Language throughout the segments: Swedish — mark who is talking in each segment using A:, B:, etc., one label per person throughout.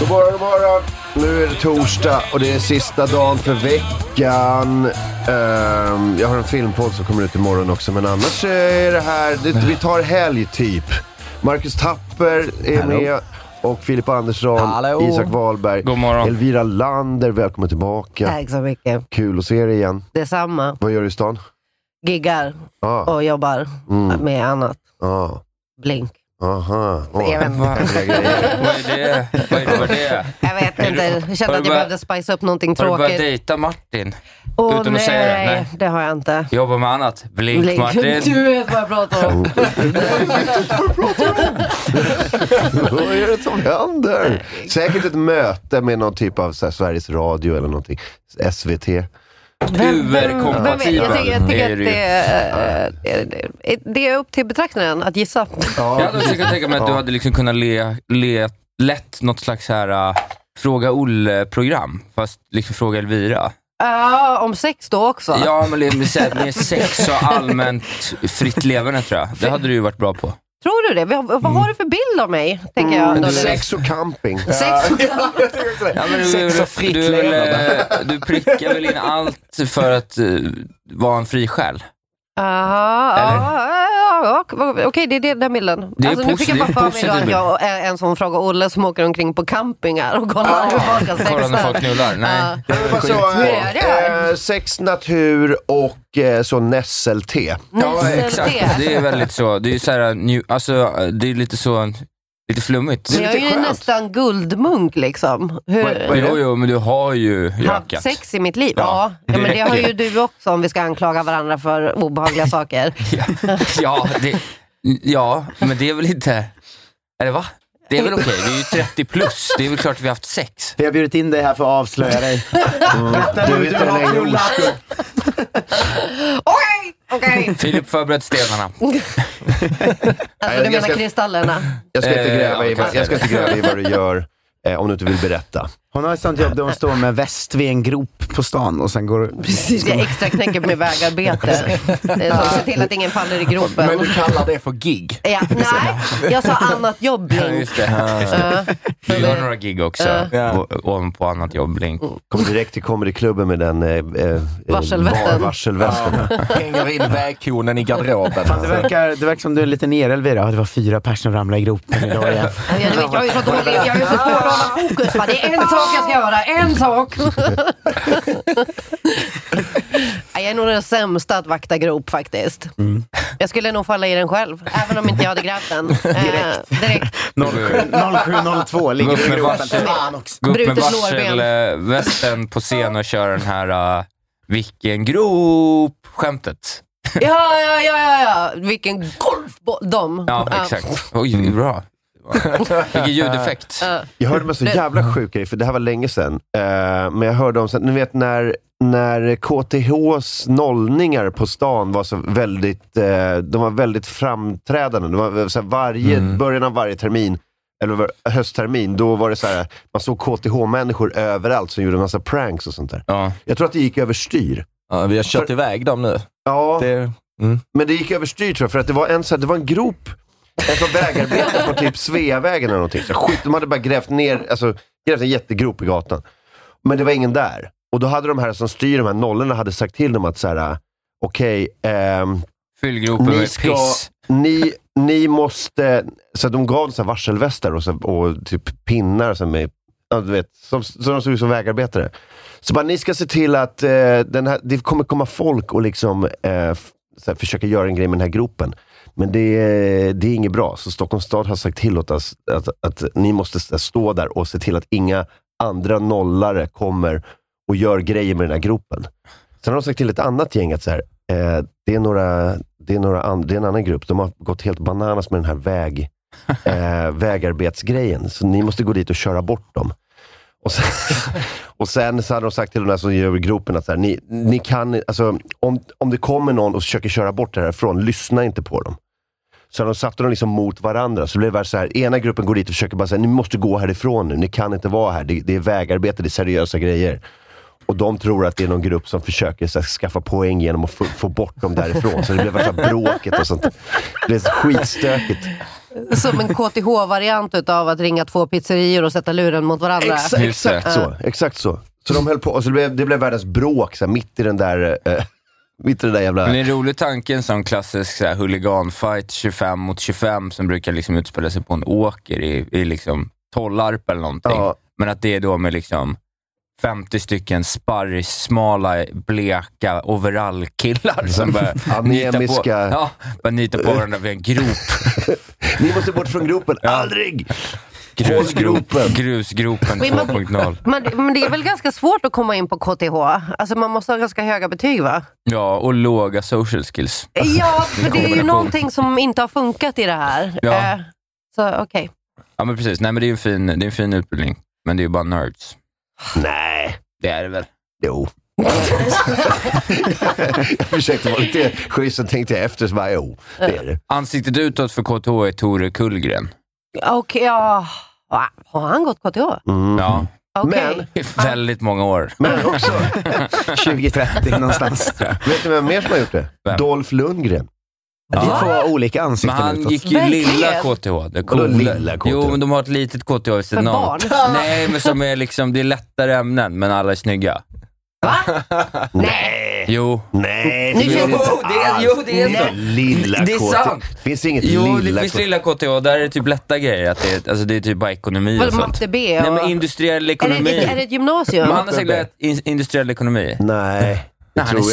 A: God morgon, god morgon. Nu är det torsdag och det är sista dagen för veckan. Ehm, jag har en filmpodd som kommer ut imorgon också, men annars är det här, det, vi tar helg typ. Marcus Tapper är med och Filip Andersson,
B: Hallå.
A: Isak Wahlberg,
C: God morgon.
A: Elvira Lander, välkommen tillbaka.
B: Tack så mycket.
A: Kul att se dig igen.
B: Detsamma.
A: Vad gör du i stan?
B: Giggar
A: Ah,
B: och jobbar
A: mm,
B: med annat.
A: ah,
B: Blink.
A: aha.
B: Jag vet
A: Oh.
B: inte.
C: Vad vad är det? Vad är det? Vad är det?
B: Jag vet
C: Är
B: inte.
C: du-
B: Jag kände
C: har
B: att jag
C: du börjat-
B: behövde spice upp någonting
C: Har du börjat
B: tråkigt.
C: dejta Martin?
B: Åh
C: utan att säga det?
B: nej,
C: Nej.
B: det har jag inte.
C: Jobbar med annat? Blink,
B: Blink.
C: Martin.
B: Du vet vad jag pratar om.
A: Vad är det som händer? Säkert ett möte med någon typ av så här, Sveriges Radio eller någonting. SVT.
B: Vem vet?
C: Uber-kompatibel
B: Jag tycker, jag tycker
C: är
B: att
C: du ju.
B: det, är, eh, det är upp till betraktaren att gissa.
C: Jag hade också kunnat tänka mig att du hade liksom kunnat le, le, lett något slags så här, äh, fråga Olle-program, fast liksom fråga Elvira.
B: Ja, om sex då också.
C: Ja, men det- det är så här, med sex och allmänt fritt leverne tror jag. Det hade du ju varit bra på.
B: Tror du det? Vad, vad har du för bild av mig? Tänker jag.
C: Men
B: då
C: Mm.
B: nu.
C: du-
A: Sex och camping.
B: Sex och
C: Ja, men du,
D: Sex och fritt
C: du, du,
D: leverne.
C: du prickar väl in allt för att eh, vara en fri själ?
B: Aha, ja, ja, ja, Okej, det är det- den bilden.
C: Det är
B: alltså, nu fick jag bara
C: positiv-
B: för mig
C: positiv
B: då att
C: bild.
B: jag är en sån fråga Olle som åker omkring på campingar och kollar hur folk har
C: Kolla när Ah, folk
B: sex.
C: knullar? Nej.
B: Ja.
A: Vad så,
B: Hur är det?
A: eh, sex, natur och eh, så nässelte.
C: Ja,
B: Nässelte.
C: exakt. Det är väldigt så. Det är ju så här, nju- alltså, det är lite så, lite flummigt.
B: Men jag är ju nästan guldmunk liksom. Hur,
C: Jo, jo, men du har ju
B: haft
C: rökat.
B: sex i mitt liv? Ja,
C: Ja,
B: ja
C: det
B: men det
C: räcker.
B: har ju du också om vi ska anklaga varandra för obehagliga saker.
C: Ja, ja, det, ja, men det är väl inte... Eller va? Det är väl okej? Det är ju 30 plus. Det är väl klart att vi har haft sex.
D: Vi har bjudit in dig här för att avslöja dig.
A: Du vet den länge
B: Eh,
A: orsak.
B: Okej! Okej!
C: Filip förberett stenarna.
B: Oh, Alltså du
A: Jag
B: menar
A: ska-
B: kristallerna?
A: Jag ska inte
C: Eh,
A: gräva i,
C: ja, kanske.
A: jag ska inte gräva i vad du gör eh, om du inte vill berätta.
D: Hon har ett sånt jobb där hon står med väst vid en grop på stan och sen går
B: Precis, jag extra knäcker med vägarbete. Eh, Som ser till att ingen faller i gropen.
D: kallar det för gig.
B: Ja, nej, jag sa annat jobb
C: Ja,
B: Blink.
C: just det. Just det.
B: Ja.
C: Vi har några gig också.
D: Ja.
C: o- Ovanpå annat jobb, Blink.
B: Mm.
A: Kom direkt till comedyklubben med den eh, eh,
B: Varselvästen.
A: var- varselvästen.
E: Hänger in vägkonen i garderoben.
D: Fan, det, verkar, det verkar som du är lite nere Elvira. Ja, Det var fyra personer som ramlade i gropen idag igen.
B: Ja, du vet, jag är ju så dålig, jag är ju så svår att hålla fokus. Va? Det är en sak jag ska göra, en sak! Nej, jag är nog den sämsta att vakta grop faktiskt. Jag skulle nog falla i den själv, även om inte jag hade grävt den. direkt. Eh, direkt.
D: 0702 ligger
C: Gå upp
D: du i
C: med
D: gropen.
C: varsel.
D: Fan också.
C: Gå upp med
B: Brutet lårben.
C: varselvästen på scen och köra den här uh, “Vilken grop”-skämtet.
B: Ja, ja, ja, ja, ja. Vilken golfboll! De.
C: Ja, exakt. Oj, bra.
A: Mm.
C: Vilken ljudeffekt.
B: Ja.
A: Jag hörde mig så jävla sjuk grej, för det här var länge sedan. Eh, men jag hörde om, sen, ni vet när, när KTHs nollningar på stan var så väldigt, eh, de var väldigt framträdande. Det var eh, så här, varje, början av varje termin, eller var- hösttermin, då var det så här, man såg KTH-människor överallt som gjorde en massa pranks och sånt där.
C: Ja.
A: Jag tror att det gick överstyr.
E: Ja, vi har kört iväg dem nu.
A: Ja,
E: Det,
A: men det gick överstyr tror jag, för att det var en, så här, det var en grop, en sån vägarbete på typ Sveavägen eller någonting. Så skit, de hade bara grävt ner, alltså grävt en jättegrop i gatan. Men det var ingen där. Och då hade de här som styr de här nollorna hade sagt till dem att så här, okej, ehm,
C: Fyll gropen
A: Ni
C: med
A: ska-
C: piss.
A: ni, ni måste... Så att de gav så här varselvästar och, så, och typ pinnar som är... Ja, du vet, som, som de såg ut som vägarbetare. Så bara, ni ska se till att eh, den här, det kommer komma folk och liksom eh, f- så här, försöka göra en grej med den här gropen. Men det, är- det är inget bra, så Stockholms stad har sagt till åt oss att, att, ni måste så här stå där och se till att inga andra nollare kommer och gör grejer med den här gropen. Sen har de sagt till ett annat gäng att så här, eh, det, är några, det, är några an, det är en annan grupp. De har gått helt bananas med den här väg, eh, vägarbetsgrejen, så ni måste gå dit och köra bort dem. Och sen, och sen så hade de sagt till de där som gör gropen att så här, ni, ni kan, alltså, om, om det kommer någon och försöker köra bort det härifrån, lyssna inte på dem. Så de satte dem liksom mot varandra, så det blev det så här, ena gruppen går dit och försöker bara säga, ni måste gå härifrån nu, ni kan inte vara här, det, det är vägarbete, det är seriösa grejer. Och de tror att det är någon grupp som försöker så här, skaffa poäng genom att få, få bort dem därifrån. Så det blev värsta bråket och sånt. Det är så skitstökigt.
B: Som en KTH-variant utav att ringa två pizzerior och sätta luren mot varandra.
A: Exa-
C: Just det.
A: exakt så. Exakt så. Så de höll på, och så det, blev, det blev världens bråk så här, mitt i den där, eh, mitt i den där jävla...
C: Men det är en rolig tanke, en sån klassisk så här, huliganfight 25 mot 25 som brukar liksom utspela sig på en åker i, i liksom Tollarp eller någonting.
A: Ja.
C: Men att det är då med liksom 50 stycken sparris, smala, bleka overallkillar som börjar nita på,
A: Anemiska.
C: ja, börjar nita på varandra vid en grop.
A: Ni måste bort från gropen, aldrig!
C: Grusgropen, grusgropen
B: Men man-
C: 2.0.
B: Men, men det är väl ganska svårt att komma in på KTH? Alltså man måste ha ganska höga betyg va?
C: Ja, och låga social skills.
B: Ja, för det är ju
C: Kombination.
B: någonting som inte har funkat i det här.
C: Ja.
B: Eh, Så okej.
C: Ja, men precis. Nej, men det är ju en fin, det är en fin utbildning, men det är ju bara nerds.
A: Nej,
C: Det är det väl?
A: jo. jag försökte vara lite schysst, sen tänkte jag efter, så bara, jo, det är det.
C: Ansiktet utåt för KTH är Tore Kullgren.
B: Okej, ja. Va? Har han gått KTH?
A: Mm.
C: Ja,
B: Okej.
A: Men-
C: i väldigt många år.
A: Men också,
D: 2030 någonstans.
A: vet ni vem mer som har gjort det?
C: Vem?
A: Dolph Lundgren.
D: Vi
C: Ja.
D: får olika
C: Men
D: ansikten
C: han
D: utåt.
C: gick ju
B: Verkligen.
C: lilla KTH. Det
A: Vadå lilla KTH?
C: Jo, men de har ett litet KTH vid sidan
B: För
C: av.
B: barn?
C: Nej, men som är liksom, det är lättare ämnen, men alla är snygga.
A: Nej!
C: Jo.
A: Nej,
B: Nu kör-
C: Jo, det är- jo, det är
A: Nej,
C: så.
A: Lilla
C: Det är
A: KT.
C: sant.
A: Finns inget
C: Jo, det
A: lilla
C: finns
A: KT?
C: lilla KTH. Där är det typ lätta grejer. Att det, är, alltså, det är typ bara ekonomi och
B: Vadå,
C: sånt.
B: matte B? Och...
C: Nej, men industriell
B: är, det, är det
C: ekonomi.
B: ett gymnasium?
C: Man har säkert lärt in- industriell ekonomi.
A: Nej. det
C: Nej, han är
A: tror jag inte.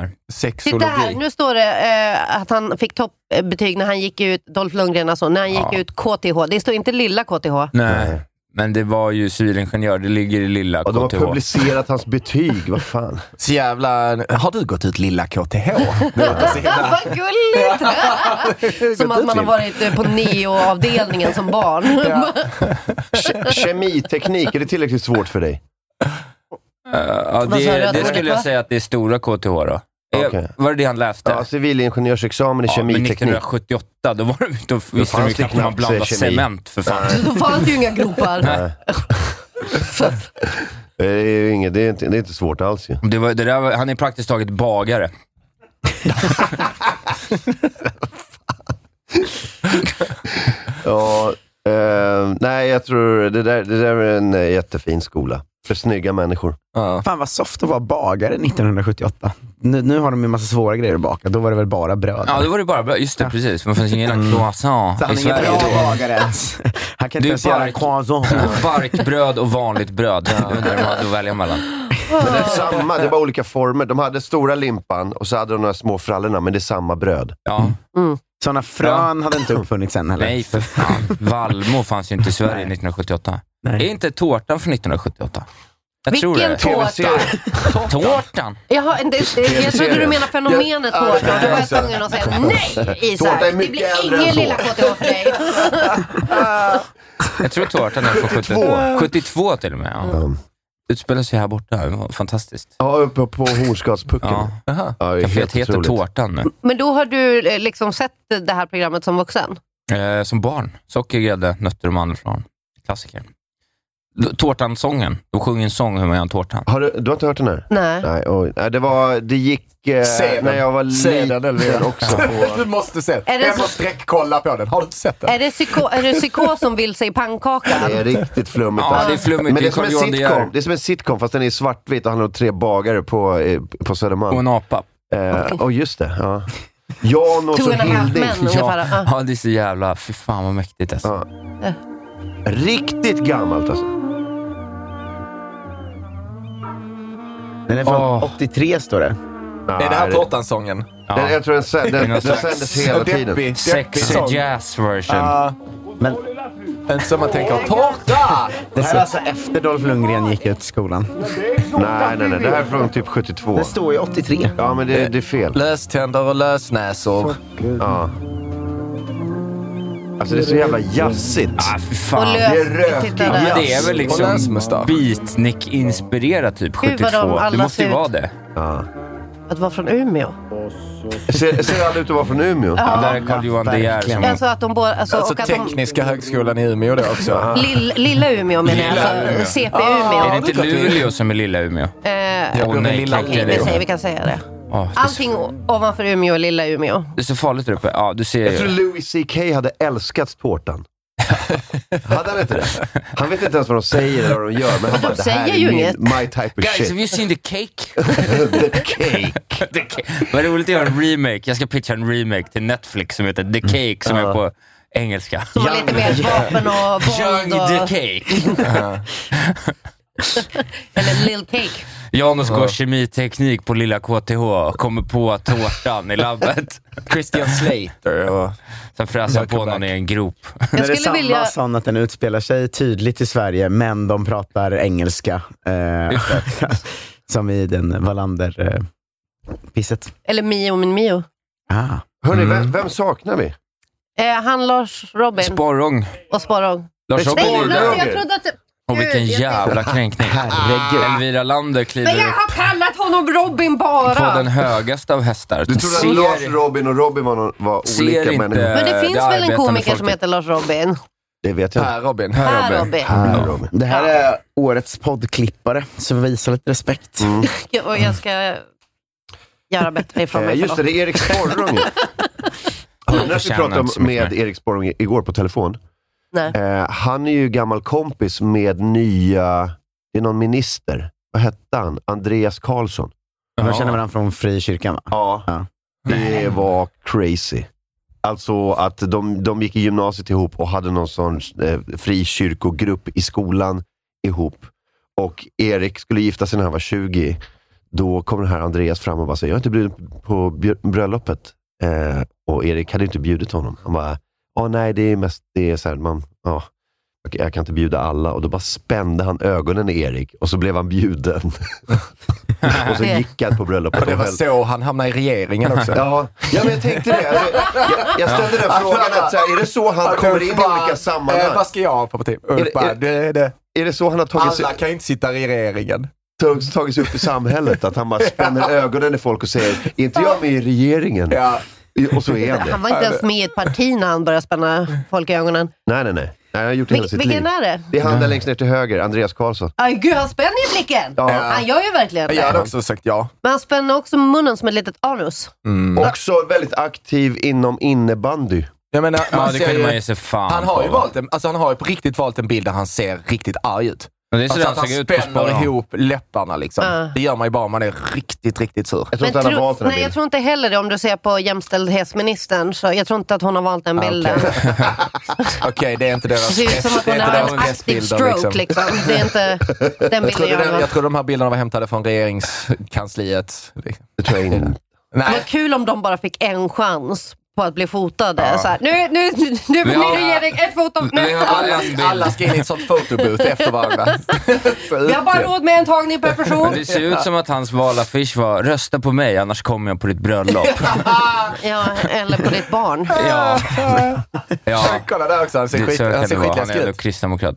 B: Titta här,
E: Sexologi.
B: nu står det eh, att han fick toppbetyg när han gick ut, Dolph Lundgren alltså, när han gick
C: Ja.
B: ut KTH. Det står inte lilla KTH.
C: Nej. Men det var ju civilingenjör. Det ligger i lilla
A: Och de har
C: KTH.
A: publicerat hans betyg, vad fan.
E: Så jävla... Har du gått ut lilla KTH? Det låter så himla-
B: Vad gulligt! som att man har varit eh, på neoavdelningen som barn.
A: Ke- Kemiteknik, är det tillräckligt svårt för dig?
C: Eh, ja,
B: Vad sa du
C: det,
B: att det
C: det
B: var?
C: skulle jag säga att det är stora KTH då. Eh,
A: Okej.
C: Var det det han läste?
A: Ja, civilingenjörsexamen i
C: Ja, men
A: kemiteknik.
C: 1978, då, var de, då visste de
A: fanns
C: ju
A: det
C: knappt hur man
A: knappt
C: blandade
A: kemi.
C: cement för fan.
B: Då fanns det ju inga gropar. Så att-
A: Eh, Det är ju inget, det är inte, det är inte svårt alls ju.
C: Det var, det där var, han är praktiskt taget bagare.
A: Ja, eh, nej, jag tror det där, det där är en eh, jättefin skola. För snygga människor.
E: Ja.
D: Fan vad soft att vara bagare 1978. Nu, nu har de ju massa svåra grejer att baka. Då var det väl bara bröd.
C: Ja, då var det bara bra. Just det, precis. Men det fanns ingen
A: Mm.
D: Så
C: croissant
D: han
C: i
D: är ingen
C: Sverige
D: bra
C: då.
D: bagare ens. Han kan
C: Du
D: inte ens göra
C: bark-
D: en croissant.
C: Barkbröd och vanligt bröd. Det var det de hade att välja mellan.
A: Men det är samma, det är bara olika former. De hade stora limpan och så hade de de här små frallorna, men det är samma bröd.
C: Ja.
D: Sådana frön hade inte uppfunnits än heller.
C: Nej, för fan. Valmo fanns ju inte i Sverige
D: Nej.
C: 1978.
D: Nej.
C: Är inte tårtan från 1978? Jag tror
B: Vilken
C: det.
B: tårta!
C: Tårtan!
B: Jaha, det, det, jag trodde du menade fenomenet
A: Ja,
B: tårta.
A: ja,
B: Då var jag
A: alltså.
B: tvungen att säga nej
A: Tårta är
B: Isak. Det
A: mycket
B: blir
A: äldre
B: ingen
A: än så.
B: lilla KTH för dig.
C: Jag tror tårtan är från 72, 72 till och med. Ja. Utspelar sig här borta. Det var Fantastiskt.
A: Ja, uppe på Hornsgatspucken.
C: Ja.
E: Jaha.
A: Ja, det är
C: Caféet
A: helt
C: heter
A: otroligt.
C: Tårtan nu.
B: Men då har du eh, liksom sett det här programmet som vuxen?
C: Eh, som barn. Socker, grädde, nötter och mandelflarn. Klassiker. L- Tårtansången. De sjunger en sång hur man gör en tårta.
A: Har du, du har inte hört den här?
B: Nej.
A: Nej, oj. Nej, det, var, det gick eh,
E: Se den.
A: när jag var
E: Se den,
A: liten
E: Elvira.
A: också. På,
E: Du måste se.
B: Är det
E: Jag
B: så-
E: måste sträckkolla på den. Har du inte sett den?
B: Är det, psyko, är det psykos som vill sig
A: det är
B: pannkakan?
A: riktigt flummigt.
C: Ja,
A: alltså.
C: det är flummigt.
A: Men det
C: Det
A: är
C: är
A: som en
C: Carl Johan De
A: sitcom,
C: Geer.
A: det är som en sitcom fast den är i svartvit och handlar om tre bagare på, eh, på
C: Och
A: Södermalm.
C: en apa.
A: Eh, Och just det, ja. Jan och
B: Two
A: så
B: and a half
A: Hilding.
B: men ungefär. Ah.
C: Ja, det är så jävla... Fy fan vad mäktigt alltså.
A: Ja. Riktigt gammalt alltså.
D: Den är från
C: Åh.
D: 83 står det.
E: Är det här Tårtan-sången?
A: den, jag tror den, sä- den, den
C: Någon slags
A: sändes hela tiden.
C: Sexy jazz version.
D: Men
E: Inte Ah, som man tänker, tårta!
D: det här är alltså efter Dolph Lundgren gick ut skolan.
A: Nej, nej, nej. Det här är från typ 72.
D: Det står ju 83.
A: Ja, men det, det är fel.
E: Löständer och lösnäsor.
A: Ja. Alltså det är så jävla jazzigt.
C: Ah, fy
B: Och
C: fan.
B: lös,
A: det är rökigt.
B: titta där.
C: Ja, det är väl
E: Och
C: liksom
E: lösmustasch.
C: beatnik-inspirerat typ
B: Gud,
C: 72.
B: vad de alla
C: det måste ju
B: ser ut.
C: vara det.
A: Ja.
B: Att vara från Umeå.
A: Ser, ser alla ut att vara från Umeå?
C: Ja, där är Carl Johan De Geer
D: verkligen.
C: som...
B: Alltså att de båda... Alltså,
E: Alltså
B: och att de,
E: Tekniska högskolan i Umeå då också.
B: lill, lilla Umeå menar jag.
C: Lilla
B: Alltså
C: Umeå.
B: CP-Umeå.
C: är det
E: Ja, det
C: inte
E: är klart det är.
C: Luleå som är lilla Umeå?
B: Eh,
C: Åh, nej,
E: lilla
C: kanske
B: Okej,
C: det
B: vi,
C: är
B: säger,
C: det.
B: vi kan säga det.
C: Ja, det är så-
B: Allting o- ovanför Umeå är lilla Umeå.
C: Det är så farligt där uppe. Ja, du ser
A: Jag tror
C: ju.
A: Louis CK hade älskat tårtan. hade han inte det? Han vet inte ens vad de säger eller vad de gör, men han bara,
B: De
A: det här
B: säger
A: är
B: ju
A: min,
B: inget."
A: my type of
C: Guys,
A: shit.
C: have you seen the cake?
A: The cake.
C: The Cake. Vad roligt att göra en remake. Jag ska pitcha en remake till Netflix som heter
E: Mm.
C: The Cake, som är på engelska.
B: Som har lite mer vapen och
C: Young
B: våld.
C: the
B: Och,
C: Cake.
B: eller Lil Cake.
C: Janus går kemiteknik på lilla KTH och kommer på tårtan i labbet.
E: Christian Slater och...
C: Sen fräser han på
E: Welcome
C: någon i en grop.
B: Jag
D: det är
B: skulle
D: samma
B: vilja...
D: sån att den utspelar sig tydligt i Sverige, men de pratar engelska. Eh, som i den Wallander-pisset.
B: Eller Mio min Mio.
D: ah.
A: Hörni, vem, vem saknar vi?
B: Eh, han Lars Robin
C: Sporrong.
B: och Sparrong.
C: Lars
A: Men
B: Nej,
A: Åh,
C: Robin.
A: Sparrong.
B: Lars, jag
A: Roger.
B: trodde att... det-
C: Och vilken
B: Gud, jag-
C: jävla kränkning.
D: Herregud.
C: Elvira Lander
B: Men jag
C: kliver upp
B: har kallat honom Robin
C: på
B: bara.
C: den högaste av hästar.
A: Du trodde att Lars, Robin och Robin var, någon, var olika
C: ser inte
A: människor?
B: Men det
C: eh,
B: finns väl en
C: arbetande
B: komiker som
C: folket.
B: heter Lars Robin?
A: Det vet jag inte.
E: Per Robin.
B: Per Robin.
A: Här, Robin.
D: Det här är årets poddklippare, så visa lite respekt.
C: Mm.
A: Mm.
B: Ja, Och jag ska göra bättre ifrån
A: Eh,
B: mig.
A: just det,
B: förlåt.
A: det är Erik Sporrong. ju. När vi
C: förtjänar
A: pratade
C: inte så
A: om-
C: mycket
A: med Erik Sporrong i- igår på telefon.
B: Nej.
A: Eh, han är ju gammal kompis med nya, det är någon minister. Vad hette han? Andreas Karlsson.
D: Man känner
C: Ja.
D: varandra från frikyrkan va?
A: Ja.
D: Ja.
A: Det var crazy. Alltså att de, de gick i gymnasiet ihop och hade någon sån eh, frikyrkogrupp i skolan ihop. Och Erik skulle gifta sig när han var 20. Då kom den här Andreas fram och bara säger, jag är inte bjuden på bjö- bröllopet. Eh, och Erik hade inte bjudit honom. Han bara, åh nej, det är mest, det är så här, man, ja, jag- jag kan inte bjuda alla. Och då bara spände han ögonen i Erik och så blev han bjuden. och så gick han på bröllopet.
E: Och det var
A: höll-
E: så han hamnade i regeringen också.
A: Ja, ja men jag tänkte det. Jag, jag, jag ställde den frågan, att, så här, är det så han kommer in i olika
E: Alltså, Eh,
A: sammanhang?
E: vad ska jag ha på typ?
A: Är det-
E: Ulf bara,
A: är-
E: det, det.
A: Är det så han har tagit sig,
E: Alla kan ju inte sitta i regeringen.
A: tagit, tagit sig upp i samhället? Att han bara spänner ögonen i folk och säger, är inte jag med i regeringen?
E: Ja.
A: Och så är han det.
B: Han var inte ens med i ett parti när han började spänna folk i ögonen.
A: Nej, nej, nej. nej han har gjort det hela
B: Vil-
A: sitt liv.
B: vilken är det?
A: Det är han där längst ner till höger, Andreas Karlsson.
B: Aj, gud, han spänner ju blicken!
A: Ja.
B: Han gör ju verkligen
E: Jag hade
B: det.
E: också sagt ja.
B: Men han spänner också munnen som ett litet anus.
E: Mm.
A: Också väldigt aktiv inom innebandy.
E: Jag menar,
C: Ja,
E: man
C: det
E: ser
C: kunde
E: ju-
C: man ge sig fan
E: han har ju
C: på, va?
E: valt en, alltså han har ju på riktigt valt en bild där han ser riktigt arg ut.
C: Men Det är så
E: Alltså att
C: den
E: han
C: såg ut på
E: spänner
C: Sporrong.
E: ihop läpparna liksom.
B: Ja.
E: Det gör man ju bara om man är riktigt, riktigt sur.
A: Jag tror inte
B: Men
A: han har
B: tro-
A: valt den här
B: nej, jag
A: bilden.
B: tror inte heller det. Om du ser på jämställdhetsministern, så jag tror inte att hon har valt den
E: okej.
B: bilden.
E: Okej, det är inte
B: Det
E: deras
B: ser ut som att
E: det är
B: hon
E: inte
B: har
E: deras
B: en aktiv
E: pressbilder,
B: stroke. Liksom. Det är inte den
E: Jag tror,
B: bilden jag
E: den,
B: har.
E: jag tror de här bilderna var hämtade från regeringskansliet.
A: Det tror jag inte.
E: Nej,
B: Vad kul om de bara fick en chans på att bli fotade. Så här, nu, nu, nu, nu blir
C: har-
B: det regering, ett foto,
C: Vi har
B: nästa.
C: bara en bild.
E: alla ska in i ett sånt fotobooth efter varandra.
B: Vi har bara råd med en tagning per person.
C: Men det ser ut som att hans valaffisch var “Rösta på mig, annars kommer jag på ditt bröllop”.
B: Ja, eller på ditt barn.
C: ja. ja.
E: Kolla där också, han ser
C: Det,
E: skit-
C: så kan
E: han
C: det
E: ser
C: vara. Han är
E: skitläskig
C: ändå
E: ut.
C: kristdemokrat.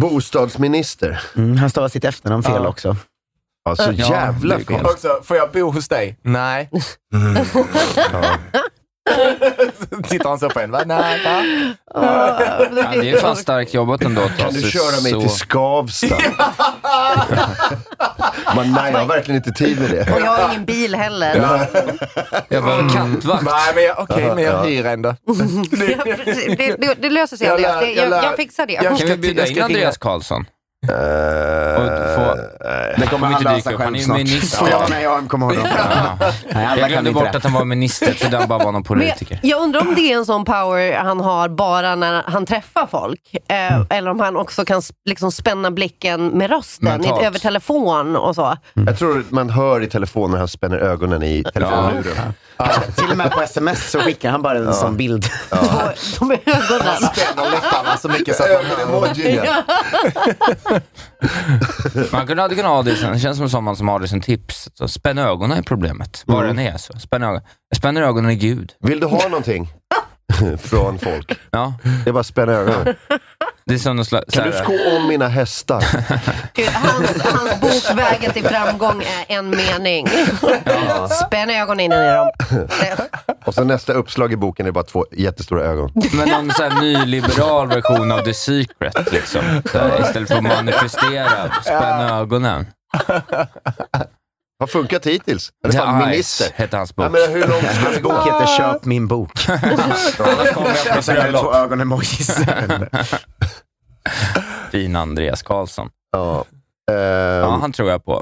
A: Bostadsminister.
D: Mm, han stavar sitt efternamn fel
E: Ja.
D: också.
A: Alltså
C: Ja,
A: jävla
C: det är
A: fel.
E: Också, får jag bo hos dig? Nej. Sitter han så på en? Va? Nej, va?
C: Ja, det är fan starkt jobbat ändå att ta
A: Kan du
C: sig
A: köra mig
C: så...
A: till Skavsta? Men nej, jag har verkligen inte tid med
B: Och
A: det.
B: jag har ingen bil heller.
C: Jag behöver kattvakt.
E: Nej, men jag- okej, men jag hyr ändå.
B: Ja, precis. Det, det, det löser sig
E: Jag
B: Andreas.
E: lär-
B: Det-
E: jag
B: Jag,
E: lär-
B: jag fixar det.
E: jag-
C: Kan vi bjuda
E: Jag ska
C: in
E: ringa.
C: Andreas Karlsson?
A: Eh,
C: få-
A: nej.
C: Det kommer
D: Men
C: ju
D: han
C: inte dyka
D: löser
C: upp. Han är ju
D: själv snart. Ja,
C: minister.
D: nej, jag kommer ihåg honom.
C: Ja.
D: Nej,
C: Jag
D: alla kan
C: glömde
D: inte
C: bort
D: det.
C: att han var minister, så han bara var någon
B: Men jag,
C: politiker.
B: jag undrar om det är en sån power han har bara när han träffar folk. Eh,
C: Mm.
B: Eller om han också kan s- liksom spänna blicken med rösten,
C: Mentalt.
B: inte över telefon och så.
A: Jag tror man hör i telefonen när han spänner ögonen i telefonluren.
D: Till och med på sms så skickar han bara en sån bild.
B: Två- De ögonen.
E: Spänner läpparna så mycket så att man hör.
A: Ögonemojin, ja.
C: Man kunde aldrig kunna ha det, sen. det känns som someone som har det som tips. Så spänn ögonen är problemet, vad
A: Mm.
C: den är. Så. Spänn ögonen. Jag spänner ögonen i Gud.
A: Vill du ha någonting från folk?
C: Ja,
A: Det är bara att spänna ögonen.
C: det är som någon slags...
A: Kan du
C: så här-
A: sko om mina hästar?
B: Gud, Hans, hans bok Vägen till framgång är en mening. Spänn ögonen innan i dem. Eh, Det-
A: Och så nästa uppslag i boken är bara två jättestora ögon.
C: Men någon så här nyliberal version av The Secret. Liksom. Så här, istället för att manifestera, spänn ögonen.
A: Har funkat hittills. Han är
C: The
A: fan
C: Eyes
A: minister.
C: hette hans bok.
A: Jag menar, hur långt ska det
D: Hans
A: gå?
D: bok heter Köp min bok.
C: Annars kommer jag på
D: Och sen är det två
C: bröllop.
D: ögonemojis.
C: Fin Andreas Karlsson.
A: Ja.
C: Ja,
A: Ehm,
C: han tror jag på.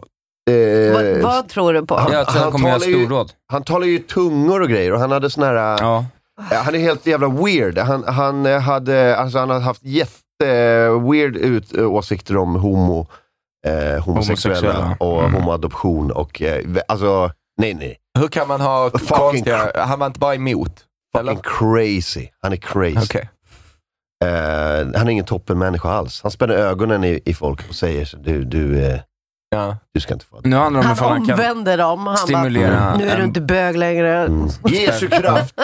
A: eh,
B: Vad, vad tror du på?
C: Jag tror
A: han
C: han kommer göra
A: talar ju-
C: storråd.
A: Han talar ju tungor och grejer och han hade sån här...
C: Ja.
A: Eh, Han är helt jävla weird. Han, han, eh, hade, alltså, han har haft jätte-weird ut, eh, åsikter om homo, eh, homosexuella
C: Homosexuella.
A: och
C: Mm.
A: homoadoption. Och, eh, vä- alltså, nej nej.
E: Hur kan man ha
A: Fucking
E: konstiga... Han var inte bara emot?
A: Fucking crazy. Han är crazy.
E: Okej.
A: Eh, han är ingen toppenmänniska alls. Han spänner ögonen i, i folk och säger så, du, du, eh,
E: Ja.
A: du ska inte få det.
C: Nu handlar det om ifall
B: Han
C: han kan
B: omvänder dem. Han bara,
C: stimulera...
B: nu är du
C: en-
B: inte bög längre.
A: Mm. Jesu kraft!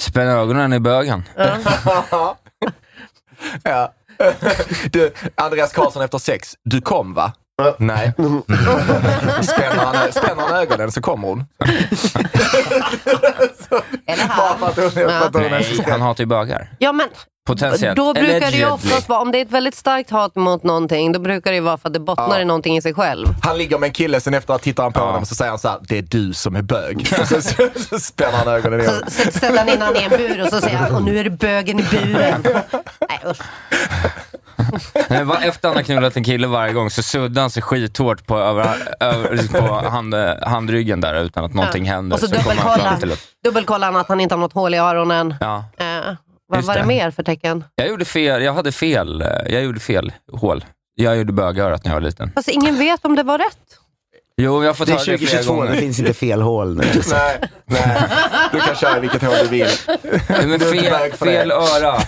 C: Spänn ögonen i bögen.
E: ja. Du, Andreas Karlsson efter sex. Du kom va? Nej. Spänner han, spänner han ögonen så kommer hon.
B: Eller
E: Bara
B: här.
E: för att hon, för att hon är
C: Nej, han hatar ju bögar.
B: Ja, men
C: Potentiellt.
B: Då brukar det ju
C: Allegedly.
B: oftast vara, om det är ett väldigt starkt hat mot någonting, då brukar det ju vara för att det bottnar i någonting i sig själv.
E: Han ligger med en kille, sen efter att tittar han på
C: Ja.
E: honom så säger han så här, det är du som är bög. Och så, så, så spänner han ögonen igen.
B: Så, så ställer han in han i en bur och så säger han, och nu är det bögen i buren. Nej, usch.
C: Nej, va- Efter han har knullat en kille varje gång så suddar han sig skithårt på, över, över, liksom på hand, handryggen där utan att någonting händer.
B: Och så
C: kommer han
B: dubbelkollar.
C: fram till att-
B: Dubbelkollar han att han inte har något hål i öronen.
C: Ja.
B: Eh, vad
C: Just
B: var det
C: det.
B: mer för tecken?
C: Jag gjorde fel, jag hade fel, eh, jag gjorde fel hål. Jag gjorde bögörat när jag var liten.
B: Fast ingen vet om det var rätt.
C: Jo, jag har fått
D: Det är
C: höra det flera
D: 2022, det
C: gånger.
D: finns inte fel hål nu.
E: Nej, nej. Du kan köra vilket hål du vill.
C: Nej, Men
E: är inte bög
C: fel,
E: för det.
C: fel öra.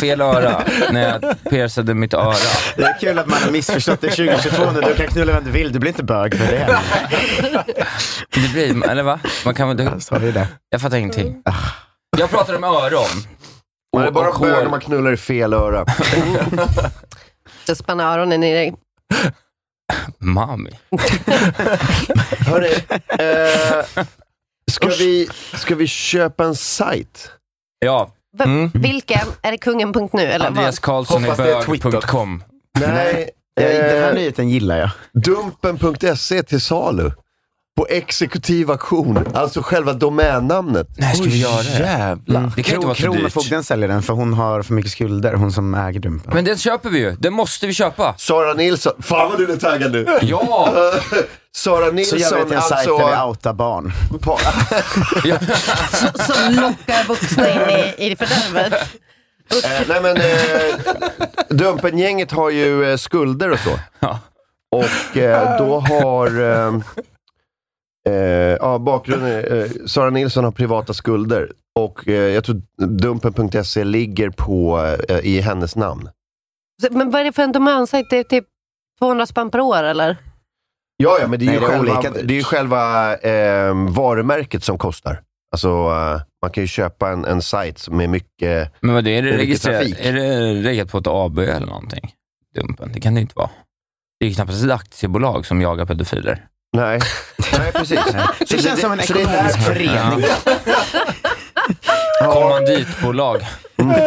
C: Fel öra. När jag piercade mitt öra.
D: Det är kul att man har missförstått det 2022 nu. Du kan knulla vem du vill, du blir inte bög för det.
C: Det blir, eller va? Man kan, väl-
D: Så är det.
C: jag fattar ingenting. Jag pratade om öron.
A: Man är
C: Och-
A: bara
C: och hår.
A: bög om man knullar i fel öra.
B: Så spänner öronen i dig.
C: Mami.
A: Hörni, eh, ska, vi, ska vi köpa en sajt?
C: Ja,
B: V- Vilken? Är det kungen.nu? Eller vad?
C: Andreas Karlsson Mm. är
E: Hoppas det är Twitter.
C: bög.com.
A: Nej,
D: Ja, Den här
A: eh,
D: nyheten gillar jag.
A: dumpen.se E till salu. På exekutiv auktion, alltså själva domännamnet.
C: Nej, ska vi göra det?
E: jävlar.
C: Det kan ju inte vara så dyrt.
D: Kronofogden säljer den för hon har för mycket skulder, hon som äger Dumpen.
C: Men den köper vi ju. Den måste vi köpa.
A: Sara Nilsson, fan vad du är taggad nu. Eh,
C: Ja!
A: Sara
D: Så jag vet
A: Nilsson,
D: en sajt
A: alltså...
D: där vi outar barn.
A: Pa,
B: Som lockar vuxna in i, i fördärvet.
A: eh, nej men, eh, Dumpengänget har ju eh, skulder och så.
C: Ja.
A: Och eh, då har... Eh, eh, ja, bakgrunden, eh, Sara Nilsson har privata skulder. Och eh, jag tror Dumpen.se ligger på, eh, i hennes namn.
B: Så- Men vad är det för en domänsajt? Det är typ 200 spänn per år eller?
A: Ja, ja men det är
D: Nej,
A: ju
D: det är
A: själva,
D: olika dyrt.
A: det är ju själva eh, varumärket som kostar. Alltså, eh, man kan ju köpa en, en sajt som är mycket...
C: Men vad är det
A: Hur mycket
C: registrerat?
A: trafik?
C: Är det registrerat på ett AB eller någonting? Dumpen, det kan det inte vara. Det är ju knappast ett aktiebolag som jagar pedofiler.
A: Nej, nej precis.
D: Det känns som en
A: så det är
D: ekonomisk
A: därför-
D: förening.
C: Kommanditbolag.
A: nej,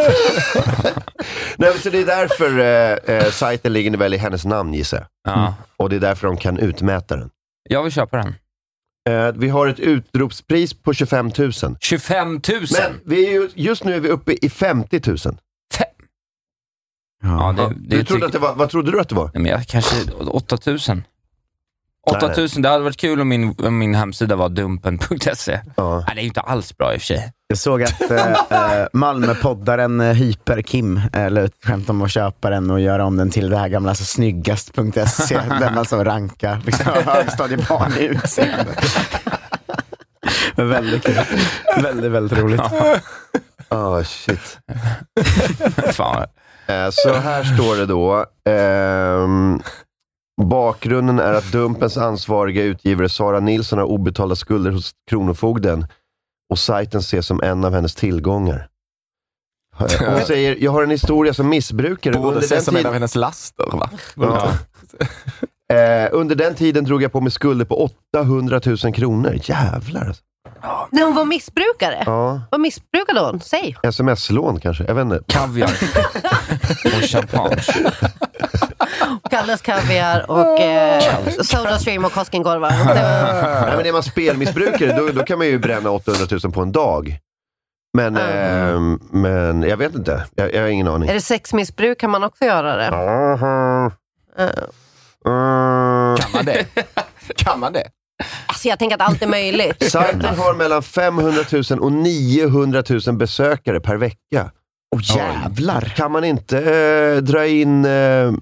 A: men så det är därför eh, eh, sajten ligger väl i hennes namn gissar jag.
C: Ja.
A: Och det är därför de kan utmäta den.
C: Jag vill köpa den.
A: Eh, vi har ett utropspris på 25 000.
C: 25 000!
A: Men vi är ju, just nu är vi uppe i 50 000.
C: Ja, det,
A: Ja,
C: det
A: du trodde
C: tycker-
A: att det var, vad trodde du att det var?
C: Nej, men jag kanske 8000. 8000, det hade varit kul om min, om min hemsida var dumpen.se.
A: Ja.
C: E. Nej, det är ju inte alls bra i och för sig.
D: Jag såg att eh, eh, Malmöpoddaren eh, Hyper-Kim eh, la ut skämt om att köpa den och göra om den till det här gamla alltså, snyggast.se. där E, man så rankar liksom, högstadiebarn i utseende. Men väldigt kul. Väldigt, väldigt roligt.
A: Ah, shit.
C: Fan.
A: Eh, Så här står det då. ehm, bakgrunden är att Dumpens ansvariga utgivare Sara Nilsson har obetalda skulder hos Kronofogden och sajten ses som en av hennes tillgångar. Eh, Hon säger, jag har en historia som missbrukare.
E: Borde
A: Under den,
E: ses som en
A: tiden,
E: av hennes laster, va?
A: Ja. eh, under den tiden drog jag på mig skulder på 800 000 kronor. Jävlar. alltså.
B: När hon var missbrukare?
A: Ja,
B: Vad missbrukade hon? Säg.
A: Sms-lån kanske. Jag vet inte.
C: Kaviar och champagne.
B: Kalles kaviar och eh, Sodastream och Koskenkorvar. Eh, Det var-
A: Nej, men är man spelmissbrukare, då, då kan man ju bränna 800 000 på en dag. Men, ehm, men jag vet inte. Jag, jag har ingen aning.
B: Är det sexmissbruk kan man också göra det.
A: Aha.
B: Eh,
A: Mm.
E: Kan man det? Kan man det?
B: Alltså jag tänker att allt är möjligt.
A: Sajten har mellan 500 000 och 900 000 besökare per vecka.
D: Åh jävlar.
A: Kan man inte eh, dra in eh, eh,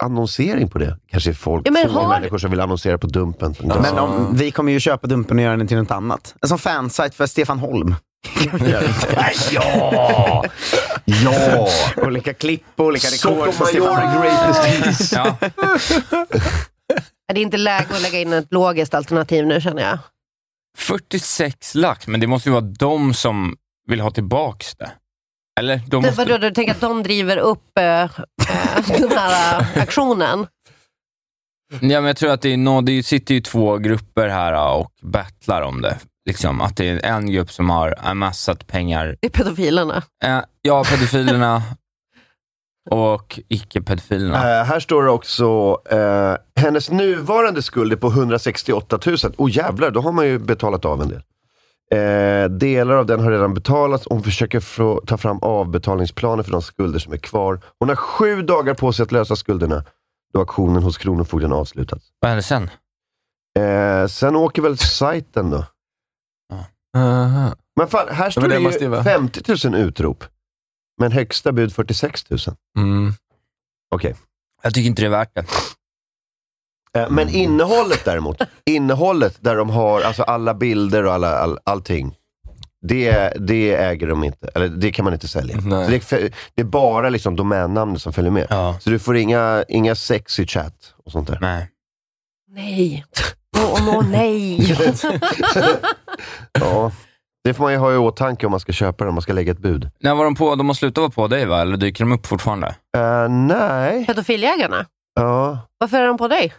A: annonsering på det? Kanske folk,
B: Ja, men
A: få
B: har-
A: människor som vill annonsera på Dumpen.
D: Men om, vi kommer ju köpa Dumpen och göra den till något annat. En sån fansajt för Stefan Holm.
A: Ja! ja!
D: olika klipp och olika rekord. för Stefan Holm.
A: Sotomayor greatest hits.
C: Ja.
B: Det är inte läge att lägga in ett logiskt alternativ nu känner jag.
C: 46 lax, men det måste ju vara de som vill ha tillbaks det. Eller? De
B: Det,
C: måste...
B: vadå, du tänker att de driver upp eh, eh, den här eh, aktionen?
C: Ja, men jag tror att det, är nå- det sitter ju två grupper här ah, och battlar om det. Liksom, att det är en grupp som har amassat pengar.
B: Det är pedofilerna.
C: Eh, ja, pedofilerna och icke-pedofilerna.
A: Eh, här står det också, eh, hennes nuvarande skuld är på 168 000. Åh jävlar, då har man ju betalat av en del. Eh, delar av den har redan betalats och hon försöker frå- ta fram avbetalningsplaner för de skulder som är kvar. Hon har sju dagar på sig att lösa skulderna då auktionen hos Kronofogden avslutats.
C: Vad hände sen?
A: Eh, sen åker väl sajten då. Men fan, här står
E: men det
A: det,
E: måste ju
A: ju
E: vara-
A: 50 000 utrop. Men högsta bud 46 000.
E: Mm.
A: Okej.
C: Jag tycker inte det är värt det.
A: Eh, Men innehållet däremot, innehållet där de har alltså alla bilder och alla, all, allting, det, det äger de inte. Eller det kan man inte sälja.
C: Mm.
E: Nej.
A: Så det, är fe- det är bara liksom domännamnet som följer med.
C: Ja.
A: Så du får inga, inga sex i chatt och sånt där.
C: Nej.
B: Nej. Åh, åh, åh, nej.
A: Ja. Det får man ju ha i åtanke om man ska köpa den, om man ska lägga ett bud.
C: När var de på? De har slutat vara på dig va? Eller dyker de upp fortfarande?
A: Eh, nej.
B: Pedofiljägarna.
A: Ja.
B: Varför är de på dig?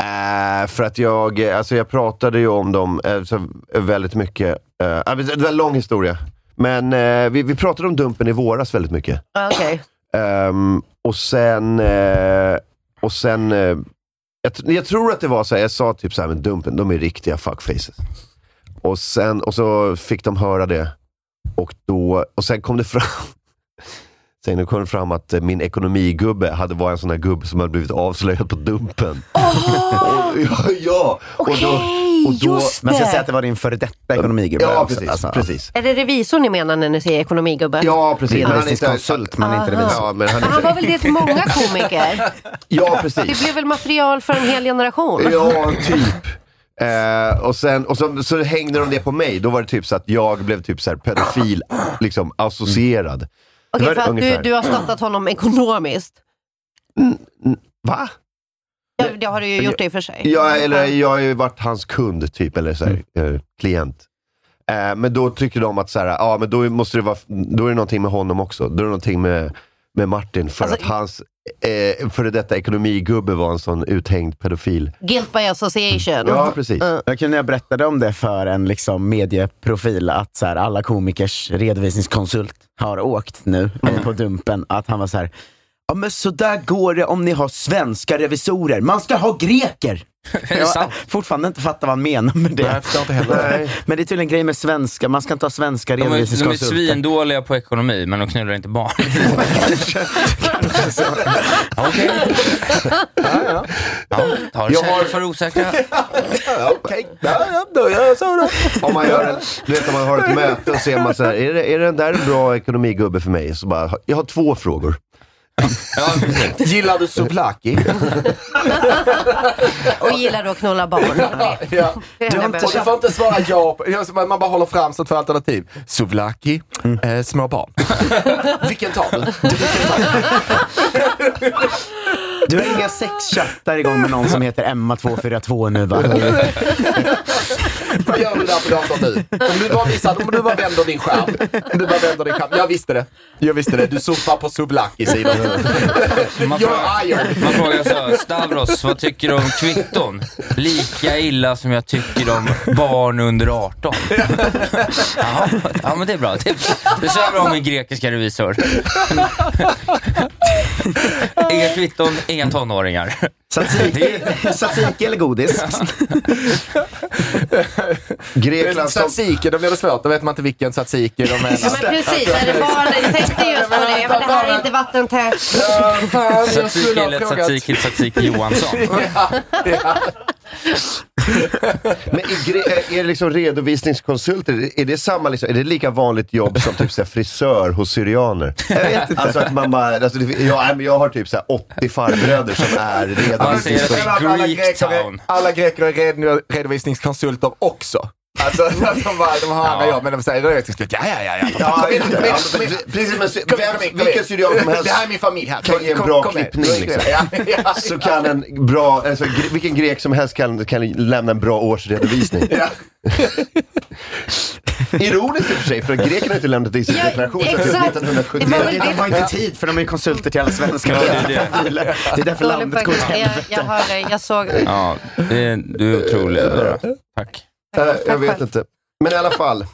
A: Eh, för att jag, eh, alltså jag pratade ju om dem eh, så väldigt mycket. Eh, ja, men det var en lång historia. Men eh, vi, vi pratade om Dumpen i våras väldigt mycket.
B: Ah, Okej.
A: Ehm, och sen... eh, och sen eh, jag, tr- jag tror att det var så här, jag sa typ så här, men Dumpen, de är riktiga fuckfaces. Och, sen, och så fick de höra det. Och, då, och sen kom det fram Sen kom det fram att eh, min ekonomigubbe hade varit en sån där gubbe som hade blivit avslöjad på Dumpen. Och, ja, ja. och då, och då,
B: just
D: Man ska
B: det.
D: säga att det var din före detta ekonomigubbe.
A: ja,
D: också.
A: precis.
D: Alltså,
A: precis.
B: Är det revisorn ni menar när ni säger ekonomigubbe?
A: Ja, precis. Men han är inte-
D: Redovisningskonsult, men inte
B: Aha.
D: revisor.
A: Ja, men han
B: Han var
A: är,
B: väl det till många komiker?
A: ja,
B: Det
A: precis.
B: blev väl material för en hel generation?
A: Ja, typ. Eh, och sen och så, så hängde de det på mig. Då var det typ så att jag blev typ så här pedofil, liksom associerad.
B: Okej,
A: Det var
B: för att du,
A: ungefär.
B: du har stöttat honom ekonomiskt.
A: Va?
B: Ja, det har du ju gjort i och för sig.
A: Jag, eller, jag har ju varit hans kund, typ, eller så här, eh, klient. Eh, men då tycker de att så här, ja, men då, måste det vara, då är det någonting med honom också. Då är det någonting med, med Martin, för
B: Alltså-
A: att hans eh, före detta ekonomigubbe var en sån uthängd pedofil.
B: Guilt by association.
A: Ja, precis.
B: Mm.
D: Jag kunde när jag berättade om det för en liksom medieprofil, att så här, alla komikers redovisningskonsult har åkt nu eh, på Dumpen, att han var så här, Ja men så där går det om ni har svenska revisorer. Man ska ha greker!
C: det
D: Jag
C: sant?
D: har fortfarande inte fattat vad han menar med
E: Nej,
D: det.
E: jag förstår inte heller.
D: Men det är tydligen en grej med svenska, man ska inte ha svenska
C: De är, de är
D: redovisningskonsulter.
C: svindåliga på ekonomi, men de knullar inte barn. Okej.
E: Ja,
C: Ja,
A: Jag
C: tar tjejer
A: har-
C: för osäkra.
A: Ja, okej.
E: ja, ja, då gör jag så då.
A: Om man gör en, du vet när man har ett möte och ser man så här, är, det, är den där en bra ekonomigubbe för mig? Så bara, jag har två frågor.
C: Ja, precis.
E: Gillar du souvlaki?
B: Och gillar du att knulla barn?
E: ja.
B: Det är det enda jag
E: Och du
B: behöver.
E: får inte svara ja. på- ja, så Man man bara håller fram som två alternativ. Souvlaki,
C: Mm.
E: eh, små barn. Vilken tar du?
D: Du har inga sexchattar igång med någon som heter Emma242 nu va?
E: Vad gör du där på datorn nu? Om du bara, visar, om du bara vänder din skärm. Om du bara vänder din skärm. Jag visste det. Jag visste det. Du surfar på souvlaki-sidan.
C: Man
E: You're
C: frågar,
E: iron.
C: man frågar så här, Stavros, vad tycker du om kvitton? Lika illa som jag tycker om barn under 18. Jaha, ja men det är bra tips. Det sa jag bra om min grekiska revisor. Inga kvitton, inga tonåringar.
D: Tzatziki tzatziki eller godis?
A: Grekland, som,
E: Tzatziki, då blir det svårt. Då vet man inte vilken tzatziki de
B: Ja,
E: menar.
B: men precis, är det barn? Jag tänkte just på det, men det här är inte vattentätt.
E: Ja, fan, jag
C: Tzatziki
E: skulle ha
C: eller
E: frågat.
C: tzatziki, tzatziki Johansson.
A: men är, gre- är det liksom redovisningskonsulter, är det, samma, liksom, är det lika vanligt jobb som typ så här, frisör hos syrianer? Jag vet inte. Alltså att man bara, alltså, det, jag, nej, men jag har typ så här, 80 farbröder som är
C: Man säger att det
A: redovisningskonsulter.
E: Alla
C: är Greek
E: greker är-
C: town.
E: Alla greker är redo- redovisningskonsulter också. Alltså, att de, bara, de har andra
C: Ja.
E: jobb, men de säger redovisningskonsulter. Ja, ja, ja. ja.
A: Ja,
E: Kom in, kom in,
A: ja,
E: kom in.
A: men Precis, men sy-
E: Kom in,
A: vem-
E: kom in, kom in.
A: vilken syrian som helst
E: Det här är min familj här.
A: kan
E: Kom-
A: ge en
E: kom-
A: bra
E: kom in.
A: klippning, liksom.
E: Ja, ja,
A: så kan en bra, alltså, gre- vilken grek som helst kan, kan lämna en bra årsredovisning.
E: ja.
A: Ironiskt i och för sig, för grekerna har inte lämnat in sin
B: Ja,
A: deklaration sedan
B: exakt.
A: 1970.
B: Det var väl
D: De har inte tid för de är konsulter till alla svenska det. är därför landet går åt
B: Jag,
D: helvete.
B: jag hörde, jag såg.
C: Ja, det är, du är otrolig Dora. Tack.
A: Eh, jag vet inte. Men i alla fall.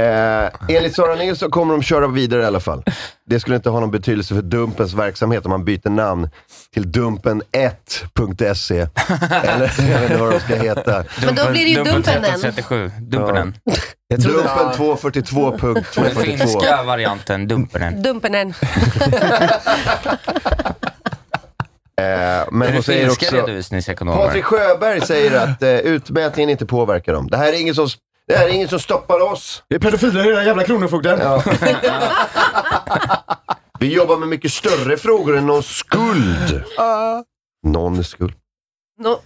A: Eh, enligt Sara Nilsson kommer de köra vidare i alla fall. Det skulle inte ha någon betydelse för Dumpens verksamhet om man byter namn till Dumpen1.se. E. Eller jag vet inte vad de ska heta.
B: Men då blir det ju Dumpen den.
C: 1337. Dumpenen.
D: Jag tror det-
C: Den
A: Dumpen242.242.
C: finska varianten, Dumpenen.
B: Dumpenen.
A: Eh,
C: Är
A: men
C: det
A: hon säger
C: finska
A: också...
C: redovisningsekonomer?
A: Patrik Sjöberg säger att eh, utmätningen inte påverkar dem. Det här är ingen som, det här är ingen som stoppar oss.
D: Det är pedofiler i den jävla kronofogden.
A: Vi jobbar med mycket större frågor än någon skuld. Någon skuld.
B: Nå,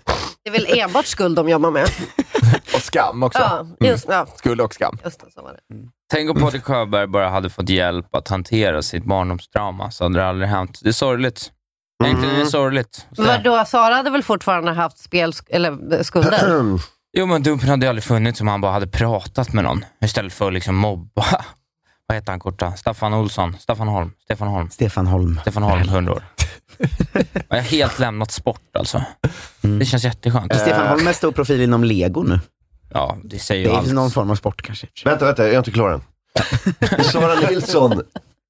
B: Det är väl enbart skuld de jobbar med.
E: Och skam också.
B: Ja, just, ja,
E: Skuld och skam.
B: just det, så var det.
C: Tänk om Patrik Sjöberg bara hade fått hjälp att hantera sitt barndomstrauma, så hade det aldrig hänt. Det är sorgligt. Är inte det
D: Mm.
C: sorgligt? Så.
B: Vadå, Sara hade väl fortfarande haft spel, eller eh, skulder?
C: Jo, men Dumpen hade ju aldrig funnits om han bara hade pratat med någon istället för att liksom mobba. Vad heter han korta? Staffan Olsson? Staffan Holm? Stefan Holm?
D: Stefan Holm.
C: Stefan Holm, 100 år. Jag har helt lämnat sport alltså.
D: Mm.
C: Det känns jätteskönt.
D: Stefan Holm är stor profil inom lego nu.
C: Ja, det säger
D: Det
C: ju
D: är väl
C: allt.
D: någon form av sport kanske.
A: Vänta, vänta, jag är inte klar än. Sara Nilsson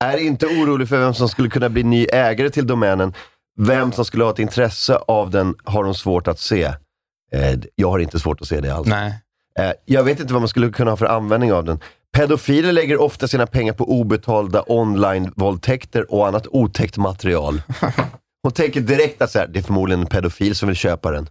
A: är inte orolig för vem som skulle kunna bli ny ägare till domänen. Vem som skulle ha ett intresse av den har hon svårt att se. Eh, jag har inte svårt att se det alls.
C: Nej.
A: Eh, jag vet inte vad man skulle kunna ha för användning av den. Pedofiler lägger ofta sina pengar på obetalda online-våldtäkter och annat otäckt material. Hon tänker direkt att så här, det är förmodligen en pedofil som vill köpa den.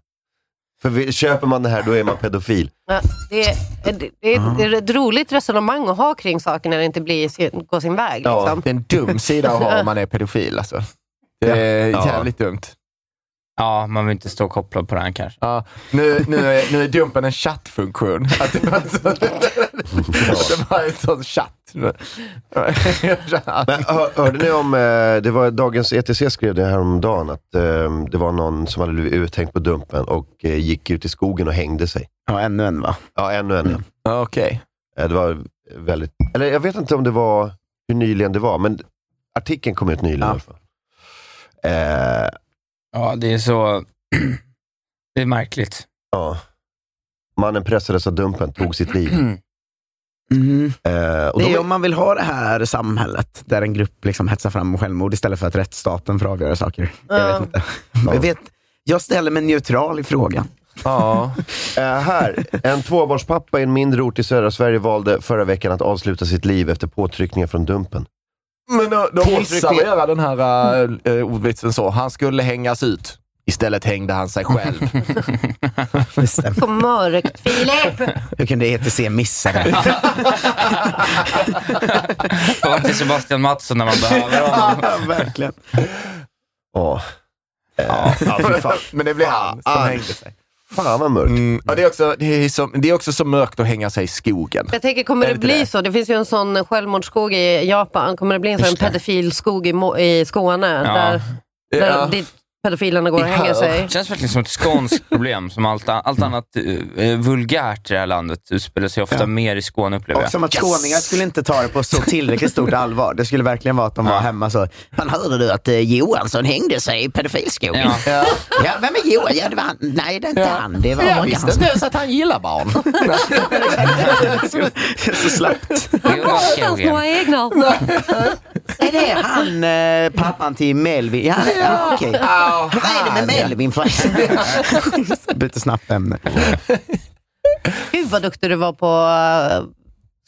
A: För vi, köper man det här, då är man pedofil.
B: Ja, det, är, det, det, är, det är ett roligt resonemang att ha kring saker när det inte blir, sin- går sin väg.
A: Ja.
B: Liksom.
E: Det är en dum sida att ha om man är pedofil alltså. Det är
A: Ja.
E: jävligt dumt.
C: Ja, man vill inte stå kopplad på den kanske.
E: Ja, nu, nu, är, nu är Dumpen en chattfunktion. Att det var en sån, det var en sån chatt.
A: Men hör, hörde ni om, eh, det var Dagens ETC skrev det här om dagen att eh, det var någon som hade blivit uthängd på Dumpen och eh, gick ut i skogen och hängde sig.
D: Ja, ännu en va?
A: Ja, ännu en. Mm.
E: Ja, Okej.
A: Det var väldigt, eller jag vet inte om det var, hur nyligen det var, men artikeln kom ut nyligen i alla fall. Eh,
C: Ja, det är så... Det är märkligt. Mm.
A: ja. Mannen pressades av Dumpen, tog sitt liv.
D: Mm.
A: Eh, och
D: Det
A: de
D: är om man vill ha det här samhället, där en grupp liksom hetsar fram självmord istället för att rättsstaten får avgöra saker. Jag
B: Ja.
D: vet inte. Jag, vet, jag ställer mig neutral i frågan.
E: Ja.
A: Eh, här. En tvåbarnspappa i en mindre ort i södra Sverige valde förra veckan att avsluta sitt liv efter påtryckningar från Dumpen.
E: Men då, då
A: Påtryckning.
E: missade vi göra den här äh, äh, ordvitsen så. Han skulle hängas ut. Istället hängde han sig själv.
D: Det stämmer.
B: Så mörkt, Filip!
D: Hur kunde ETC missa det?
C: Var till Sebastian Mattsson när man behöver honom.
D: Verkligen.
A: Ja. Eh, ja, fy fan.
E: Men det blev han som
A: Ah.
E: hängde sig.
A: fan vad mörkt.
E: Mm. Ja, det, är också, det, är som, det är också så mörkt att hänga sig i skogen.
B: Jag tänker, kommer
E: Är
B: det
E: det
B: bli
E: det?
B: så? Det finns ju en sån självmordsskog i Japan. Kommer det bli en sån
D: Just det.
B: pedofilskog i, Mo- i Skåne?
C: Ja.
B: Där, där dit pedofilerna går och
E: I
B: hänger
E: hör.
B: sig.
C: Det känns verkligen som ett skånskt problem. Som allt, allt annat eh, vulgärt i det här landet utspelar sig ofta mer i Skåne upplever
D: Och
C: jag.
D: som att skåningar skulle inte ta det på så tillräckligt stort allvar. Det skulle verkligen vara att de var hemma så. Fan, hörde du att eh, Johansson hängde sig i pedofilskogen?
C: Ja.
D: Ja. vem är Johan? Ja, det var han. Nej, det är inte han. Det var
E: Jag
D: Morgan.
E: visste inte ens att han gillar barn.
D: så slappt.
C: Det är ganska
B: Hans
C: ojämnt.
B: några egna.
D: Är det han, eh, pappan till Melvin? Ja, det- ja okej. Vad är det med Melvin förresten? Byter snabbt ämne.
B: Gud vad duktig du var på eh,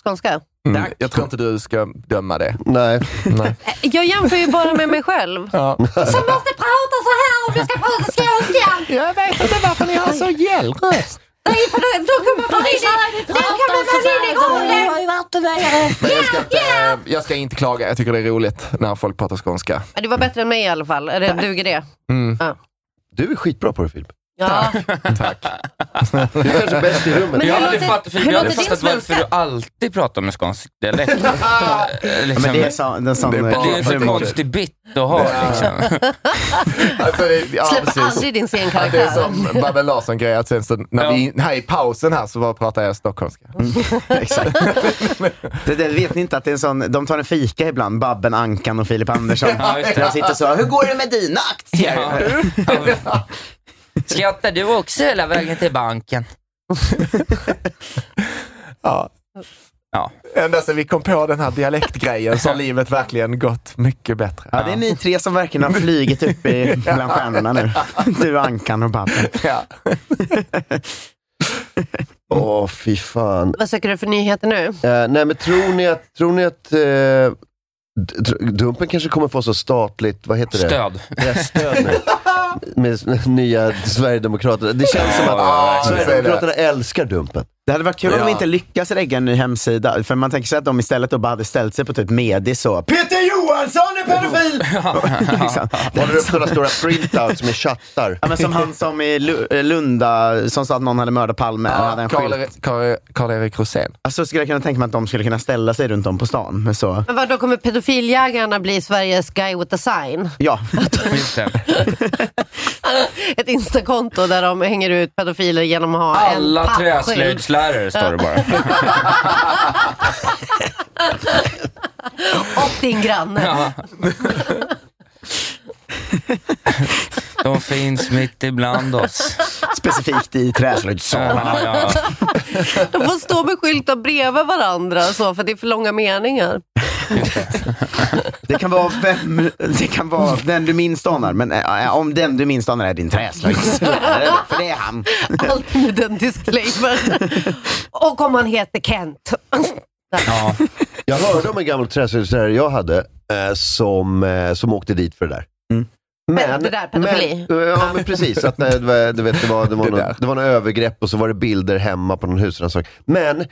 B: skånska.
E: Mm. Jag tror inte du ska döma det.
A: Nej.
E: Nej.
B: Eh, Jag jämför ju bara med mig själv.
E: Ja.
B: Som måste prata så här om jag ska prata skånska.
E: Jag vet inte varför ni har så gäll röst.
B: Nej, för då, då kommer man in i- då kommer man in i rollen.
E: Men jag ska, inte, jag ska inte klaga. Jag tycker det är roligt när folk pratar skånska.
B: Ja, Du var bättre än mig i alla fall. Är det, duger det?
E: Mm.
A: Du är skitbra på det Filip.
B: Ja.
A: Du är kanske bäst i rummet.
B: Men
C: Jag har
B: hur
C: aldrig
B: låter-
C: fattat, för
B: hur
C: jag har
B: låter din
C: aldrig fattat varför du
B: svenska?
C: alltid pratar med skånsk dialekt. Eh,
D: Ja,
C: liksom,
D: men det är så, en sån...
E: Det är bara-
C: det är en
E: för
C: så konstig bit att ha. Liksom.
E: Alltså, det, ja,
B: Släpp
E: precis.
B: aldrig din
E: Ja, Det är
B: scenkaraktär.
E: som Babben Larsson-grej, att sen så, när
C: Ja.
E: vi, här i pausen här så bara pratar jag stockholmska.
D: Exakt. Det, det vet ni inte att det är en sån, de tar en fika ibland, Babben, Ankan och Filip Andersson.
C: Ja, just det.
D: de sitter så, hur går det med dina aktier?
C: Ja. Ja. Skrattar du också hela vägen till banken?
E: Ja.
C: Ja.
E: Ända sedan vi kom på den här dialektgrejen så har livet verkligen gått mycket bättre.
D: Ja, det är ni tre som verkligen har flugit upp i, bland stjärnorna nu. Du, Ankan och Babben.
E: Ja.
A: Åh, fy fan.
B: Vad söker du för nyheter nu?
A: Eh, nej, men tror ni att, tror ni att eh, d- tr- Dumpen kanske kommer få så statligt, vad heter det?
C: Stöd.
A: Presstöd nu. Med s- nya Sverigedemokraterna. Det känns som att
E: Ja, ja,
A: Sverigedemokraterna älskar Dumpen.
D: Det hade varit kul om
E: Ja.
D: de inte lyckas lägga en ny hemsida. För man tänker sig att de istället då bara hade ställt sig på typ medie så. Peter Johansson är pedofil! liksom.
A: Håller upp sådana stora printouts med chattar.
D: ja, men som han som i Lu- eh, Lunda, som sa att någon hade mördat Palme. han hade en skylt.
E: Karl- Karl- Karl-Erik Rosén.
D: Alltså skulle jag kunna tänka mig att de skulle kunna ställa sig runt om på stan. Men så,
B: Men vadå, kommer pedofiljägarna bli Sveriges guy with a sign?
D: ja.
C: Just det.
B: Ett instakonto där de hänger ut pedofiler genom att ha en
C: Alla
B: pappskylt.
C: träslöjdslärare står det bara.
B: Och din granne.
C: Ja. De finns mitt ibland oss.
D: Specifikt i träslöjdssalen.
C: Ja, ja, ja.
B: De får stå med skyltar bredvid varandra så, för det är för långa meningar.
D: Det kan vara vem, det kan vara den du minst anar. Men eh, eh, om den du minst anar är din träslöjdslärare. För det är han.
B: Allt med den disclaimer. Och om han heter Kent.
C: Ja.
A: Jag hörde om en gammal träslöjdslärare jag hade eh, som, eh, som åkte dit för det där.
B: Det där, pedofili.
A: Men, ja, men precis. Att, eh, det, var, du vet, det, var, det, var
E: Det
A: någon,
E: där.
A: det var några övergrepp och så var det bilder hemma på någon husrannsakan. Men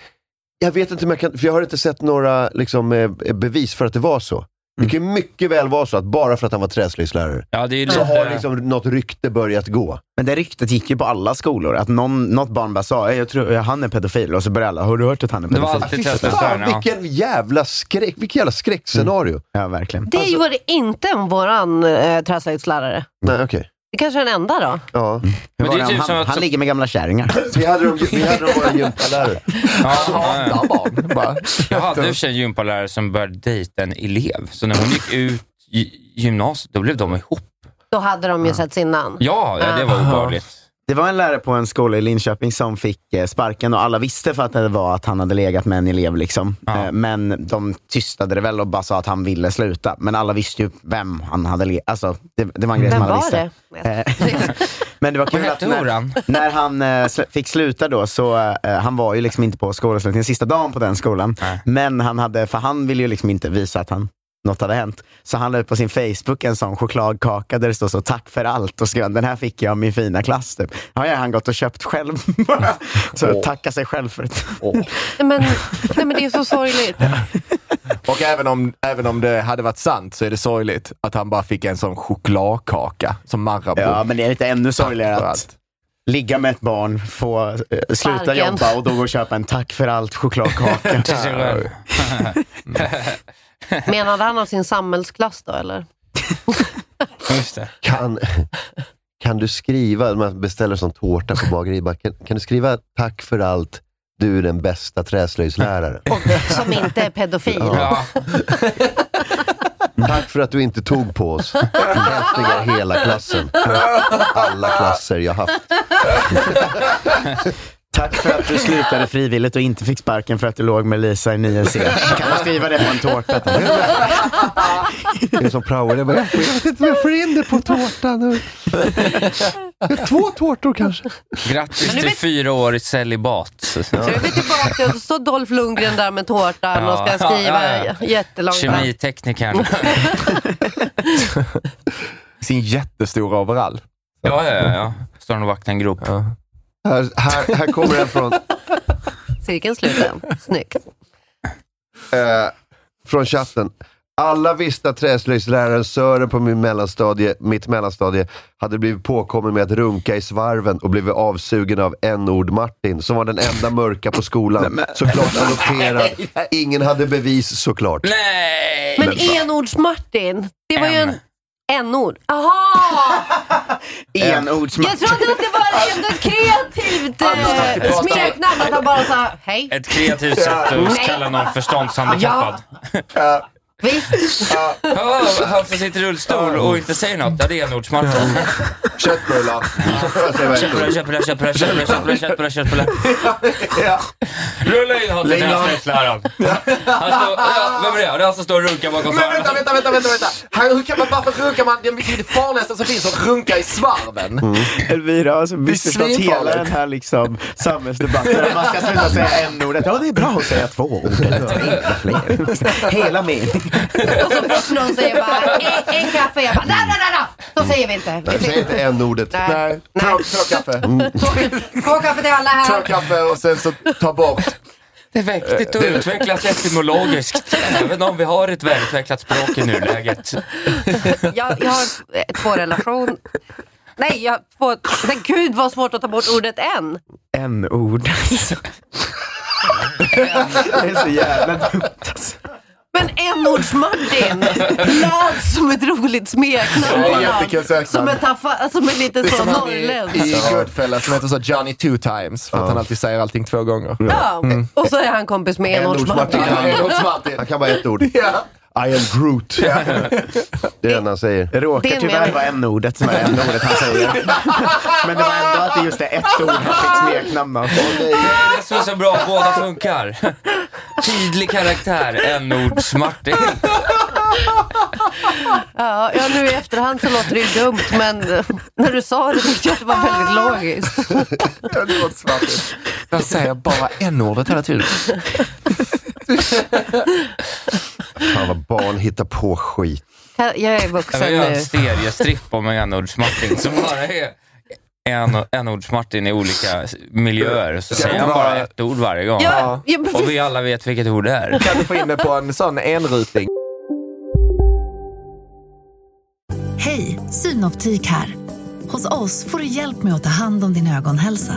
A: jag vet inte om jag kan, för jag har inte sett några liksom, eh, bevis för att det var så. Det kan ju mycket väl vara så att bara för att han var träslöjdslärare
C: ja, det är ju
A: så har
C: lite...
A: liksom något rykte börjat gå.
D: Men det ryktet gick ju på alla skolor. Att någon, något barn bara sa, "Eh, jag tror eh, han är pedofil. Och så började alla, har du hört att han är
C: Det var
D: pedofil?
C: alltid
A: Fy fan,
C: träslöjdslärarna. ja.
A: vilken jävla skräck, vilken jävla skräckscenario.
D: Ja, verkligen.
B: Det
C: Alltså-
B: gjorde inte en våran eh, träslöjdslärare.
A: Nej, okej.
B: Det kanske är den enda då.
A: Ja.
D: Hur
C: Men
D: var
C: det är
D: det om
C: typ som
D: han,
C: att-
D: han ligger med gamla kärringar.
A: Vi hade dem, vi hade dem våra gympalärare.
C: Ja, ja, ja.
E: Hatar barn. Bara.
C: Jag hade i och för sig en gympalärare som började dejta en elev, så när hon gick ut i gymnasiet, då blev de ihop.
B: Då hade de ju setts innan.
C: Ja, ja det var obehagligt.
D: Det var en lärare på en skola i Linköping som fick eh, sparken och alla visste för att det var att han hade legat med en elev. Liksom.
C: Ja.
D: Eh, Men de tystade det väl och bara sa att han ville sluta. Men alla visste ju vem han hade legat alltså, det, det var en grej
B: Vem
D: som alla
B: var
D: visste. Eh, Men det var
C: Vad
D: kul att
C: hette
D: när,
C: horan?
D: när han eh, sl- fick sluta då, så eh, han var ju liksom inte på skolavslutningen, sista dagen på den skolan.
C: Nej.
D: Men han hade, för han ville ju liksom inte visa att han något hade hänt. Så han la ut på sin Facebook en sån chokladkaka där det står så tack för allt och skrev den här fick jag av min fina klass. Typ. Har jag han gått och köpt själv bara. Så
E: Åh.
D: tacka sig själv för det.
B: Nej, men, nej, men det är så sorgligt.
E: Och även om, även om det hade varit sant så är det sorgligt att han bara fick en sån chokladkaka som Marabou.
D: Ja, men det är lite ännu sorgligare
E: Tack för
D: att
E: allt.
D: ligga med ett barn, få eh, sluta
B: Sparken.
D: jobba och då gå och köpa en tack för allt chokladkaka.
C: Till sig själv.
B: Menade han av sin samhällsklass då eller?
C: Just det.
A: Kan, kan du skriva, man beställer som tårta på bageri, bara, kan, kan du skriva tack för allt, du är den bästa träslöjdsläraren.
B: Och, som inte är pedofil.
C: Ja.
A: Tack för att du inte tog på oss. Du häftigar hela klassen. Alla klasser jag haft.
D: Tack för att du slutade frivilligt och inte fick sparken för att du låg med Lisa i 9C. Kan man skriva det på en tårta? tack?
A: Det är som praoare, jag, bara, jag vet inte om jag får in det på tårtan. Två tårtor kanske.
C: Grattis
B: Men nu
C: till
B: vet-
C: fyra år i celibat.
B: Så vi är tillbaka och så står Dolph Lundgren där med tårtan och
C: Ja,
B: ska skriva
C: ja, ja.
B: jättelångt.
C: Kemiteknikern.
E: Sin jättestora overall.
C: Ja, ja, ja, ja. Står han och vaktar en grop.
A: Här, här, här kommer en från,
B: Cirkeln sluten. Snyggt.
A: eh, från chatten. Alla visste att träslöjdsläraren Sören på min mellanstadie, mitt mellanstadie hade blivit påkommen med att runka i svarven och blivit avsugen av n-ord-Martin, som var den enda mörka på skolan. Såklart adopterad. Ingen hade bevis såklart.
C: Nej!
B: Men enords-Martin, det var ju
C: M.
B: en... N-ord. Aha!
D: Enordsmatch.
B: Jag trodde att det var ändå ett kreativt eh, smeknamn. Att han bara sa hej.
C: Ett kreativt sätt att kalla någon förståndshandikappad.
B: Visst.
C: Oh, han som sitter i rullstol och inte säger något. Ja, det är Nordsmarten.
E: Köttbullar.
C: Köttbullar, köttbullar, köttbullar, köttbullar, köttbullar, köttbullar, köttbullar. Rulla in honom till
E: Lingon.
C: träslöjdsläraren. Han står- ja, Vem är det? Ja, Det är han som står och runkar bakom
E: Men vänta,
C: svarven.
E: vänta, vänta, vänta, vänta. Här, hur kan man, varför runkar man? Det är det farligaste som finns, att runka i svarven.
D: Elvira har alltså missförstått hela
E: svinfarligt.
D: den här liksom, samhällsdebatten. Att Man ska sluta säga n-ordet. Ja, det är bra att säga två ord. eller tre, eller fler. Hela meningen.
B: Och så fort någon säger bara en, en kaffe, jag bara nej, nej, nej, nej. Så säger vi inte. Vi
A: Säg
B: säger,
A: inte n-ordet.
B: nej. Mm.
E: Två, två kaffe.
B: Två kaffe till alla
E: Två
B: här.
E: kaffe och sen så ta bort.
C: Det är viktigt att utvecklas etymologiskt, även om vi har ett välutvecklat språk i nuläget.
B: Jag, jag har eh, två relation. Nej, jag har två... Men gud vad svårt att ta bort ordet en.
D: N-ord. Det är så jävla dumt. alltså.
B: Men enords-Martin lät som ett roligt smeknamn.
E: Det är
B: på
E: jättekul
B: någon. Mm.
E: smeknamn.
B: Som ett taffa, som är lite så
E: han i,
B: norrländskt.
E: i Goodfellas som heter så Johnny two times. För att han alltid säger allting två gånger.
B: Ja. Och så är han kompis med enords-Martin.
A: N-ords-Martin.
E: Ja, Enordsmartin.
A: Han kan bara ett ord. I
E: Ja.
A: am Groot. Det är det enda han säger.
D: Det
B: Det är
D: råkar
B: en
D: tyvärr
B: mening.
D: vara n-ordet som är n-ordet han säger. Men det var ändå att det just är ett ord han fick smeknamn av.
C: Det är så, så bra, båda funkar. Tydlig karaktär, n-ords-Martin.
B: Ja, ja, nu i efterhand så låter det ju dumt, men eh, när du sa det tyckte jag att det var väldigt logiskt.
E: Enordsmartin. Jag säger bara n-ordet hela tiden.
A: Fan vad barn hittar på skit.
B: Jag jag är
C: Jag
B: vuxen
C: vill göra en
B: nu.
C: stereostripp om en n-ords-Martin som bara är en- n-ords-Martin i olika miljöer. Så säger han bara ett ord varje gång.
B: Ja, ja, precis.
C: Och vi alla vet vilket ord det är.
E: Kan du få in det på en sån enruting?
F: Hej, Synoptik här. Hos oss får du hjälp med att ta hand om din ögonhälsa.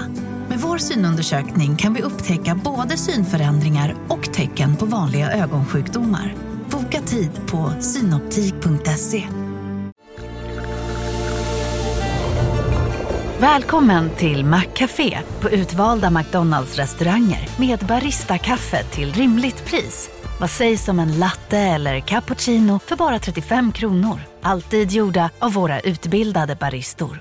F: Med vår synundersökning kan vi upptäcka både synförändringar och tecken på vanliga ögonsjukdomar. Boka tid på synoptik.se. Välkommen till Maccafé på utvalda McDonalds restauranger med Baristakaffe till rimligt pris. Vad sägs om en latte eller cappuccino för bara 35 kronor? Alltid gjorda av våra utbildade baristor.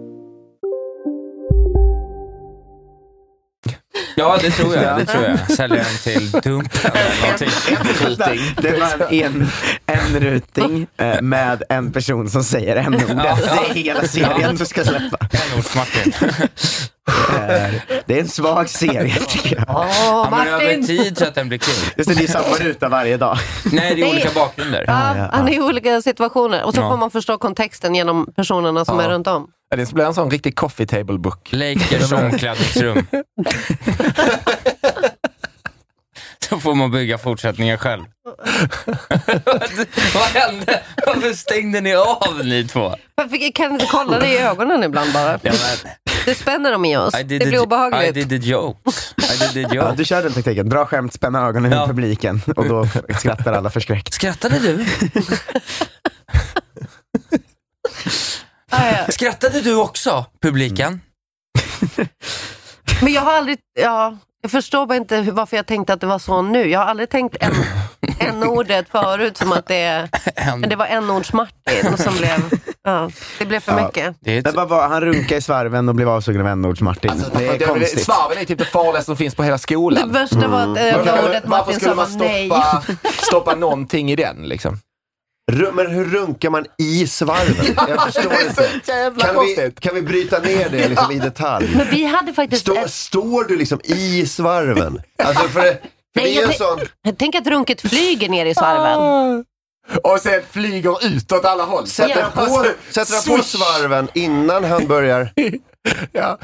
C: Ja, det tror jag. Det tror jag. Säljer den till Dumpen eller någonting.
D: Det var en, en ruting eh, med en person som säger en ord. Det är hela serien du ska släppa.
C: En ortsmartin.
D: Eh, Det är en svag serie tycker jag.
B: Åh,
C: Han behöver
B: Martin!
C: tid så att den blir kul.
D: Just det, det är samma ruta varje dag.
C: Nej, det är
B: Nej.
C: olika bakgrunder.
B: Ja, han är i olika situationer. Och så
C: Ja.
B: får man förstå kontexten genom personerna som
E: Ja.
B: är runt om.
E: Ja, Det blir en sån riktig coffee table book.
C: Lakers omklädningsrum. Så får man bygga fortsättningen själv. Vad hände? Varför stängde ni av ni två?
B: Varför kan inte kolla dig i ögonen ibland bara?
C: Ja, men,
B: Det spänner dem i oss. Det
C: I did
B: blir
C: the- I
B: obehagligt.
C: did the jokes. I did the
D: Ja,
C: jokes.
D: du kör den taktiken. Dra skämt, spänna ögonen
C: Ja.
D: i publiken och då skrattar alla förskräckt.
C: Skrattade du?
B: Ah, ja.
C: Skrattade du också, publiken?
B: Men jag har aldrig, ja, jag förstår bara inte hur- varför jag tänkte att det var så nu. Jag har aldrig tänkt en, en ordet förut som att det,
C: En-
B: det var en ords martin som blev, ja, det blev för
D: Ja.
B: mycket.
C: Det är ett
D: Men vad var, han runkade i svarven och blev avsugen av vänords-Martin. det är konstigt.
E: Svarven är typ det farligaste som finns på hela
B: Det
E: skolan.
B: värsta var att eh, det ordet
E: varför
B: martin
E: skulle
B: sa var
E: man
B: nej.
E: stoppa, stoppa någonting i den? Liksom?
A: Ru- Men hur runkar man i svarven? Jag förstår inte.
E: jävla
A: Kan vi, kan vi bryta ner det liksom i detalj?
B: Men vi hade faktiskt,
A: Stå, står du liksom i svarven? Alltså för, för
B: Nej,
A: det är
B: jag
A: en
B: vet-
A: sån...
B: ett, tänk att runket flyger ner i svarven.
E: Ah. Och sen flyger utåt alla håll.
A: Sätter han på,
B: Alltså,
A: sätter han på
E: Swish.
A: svarven innan han börjar...
E: Ja.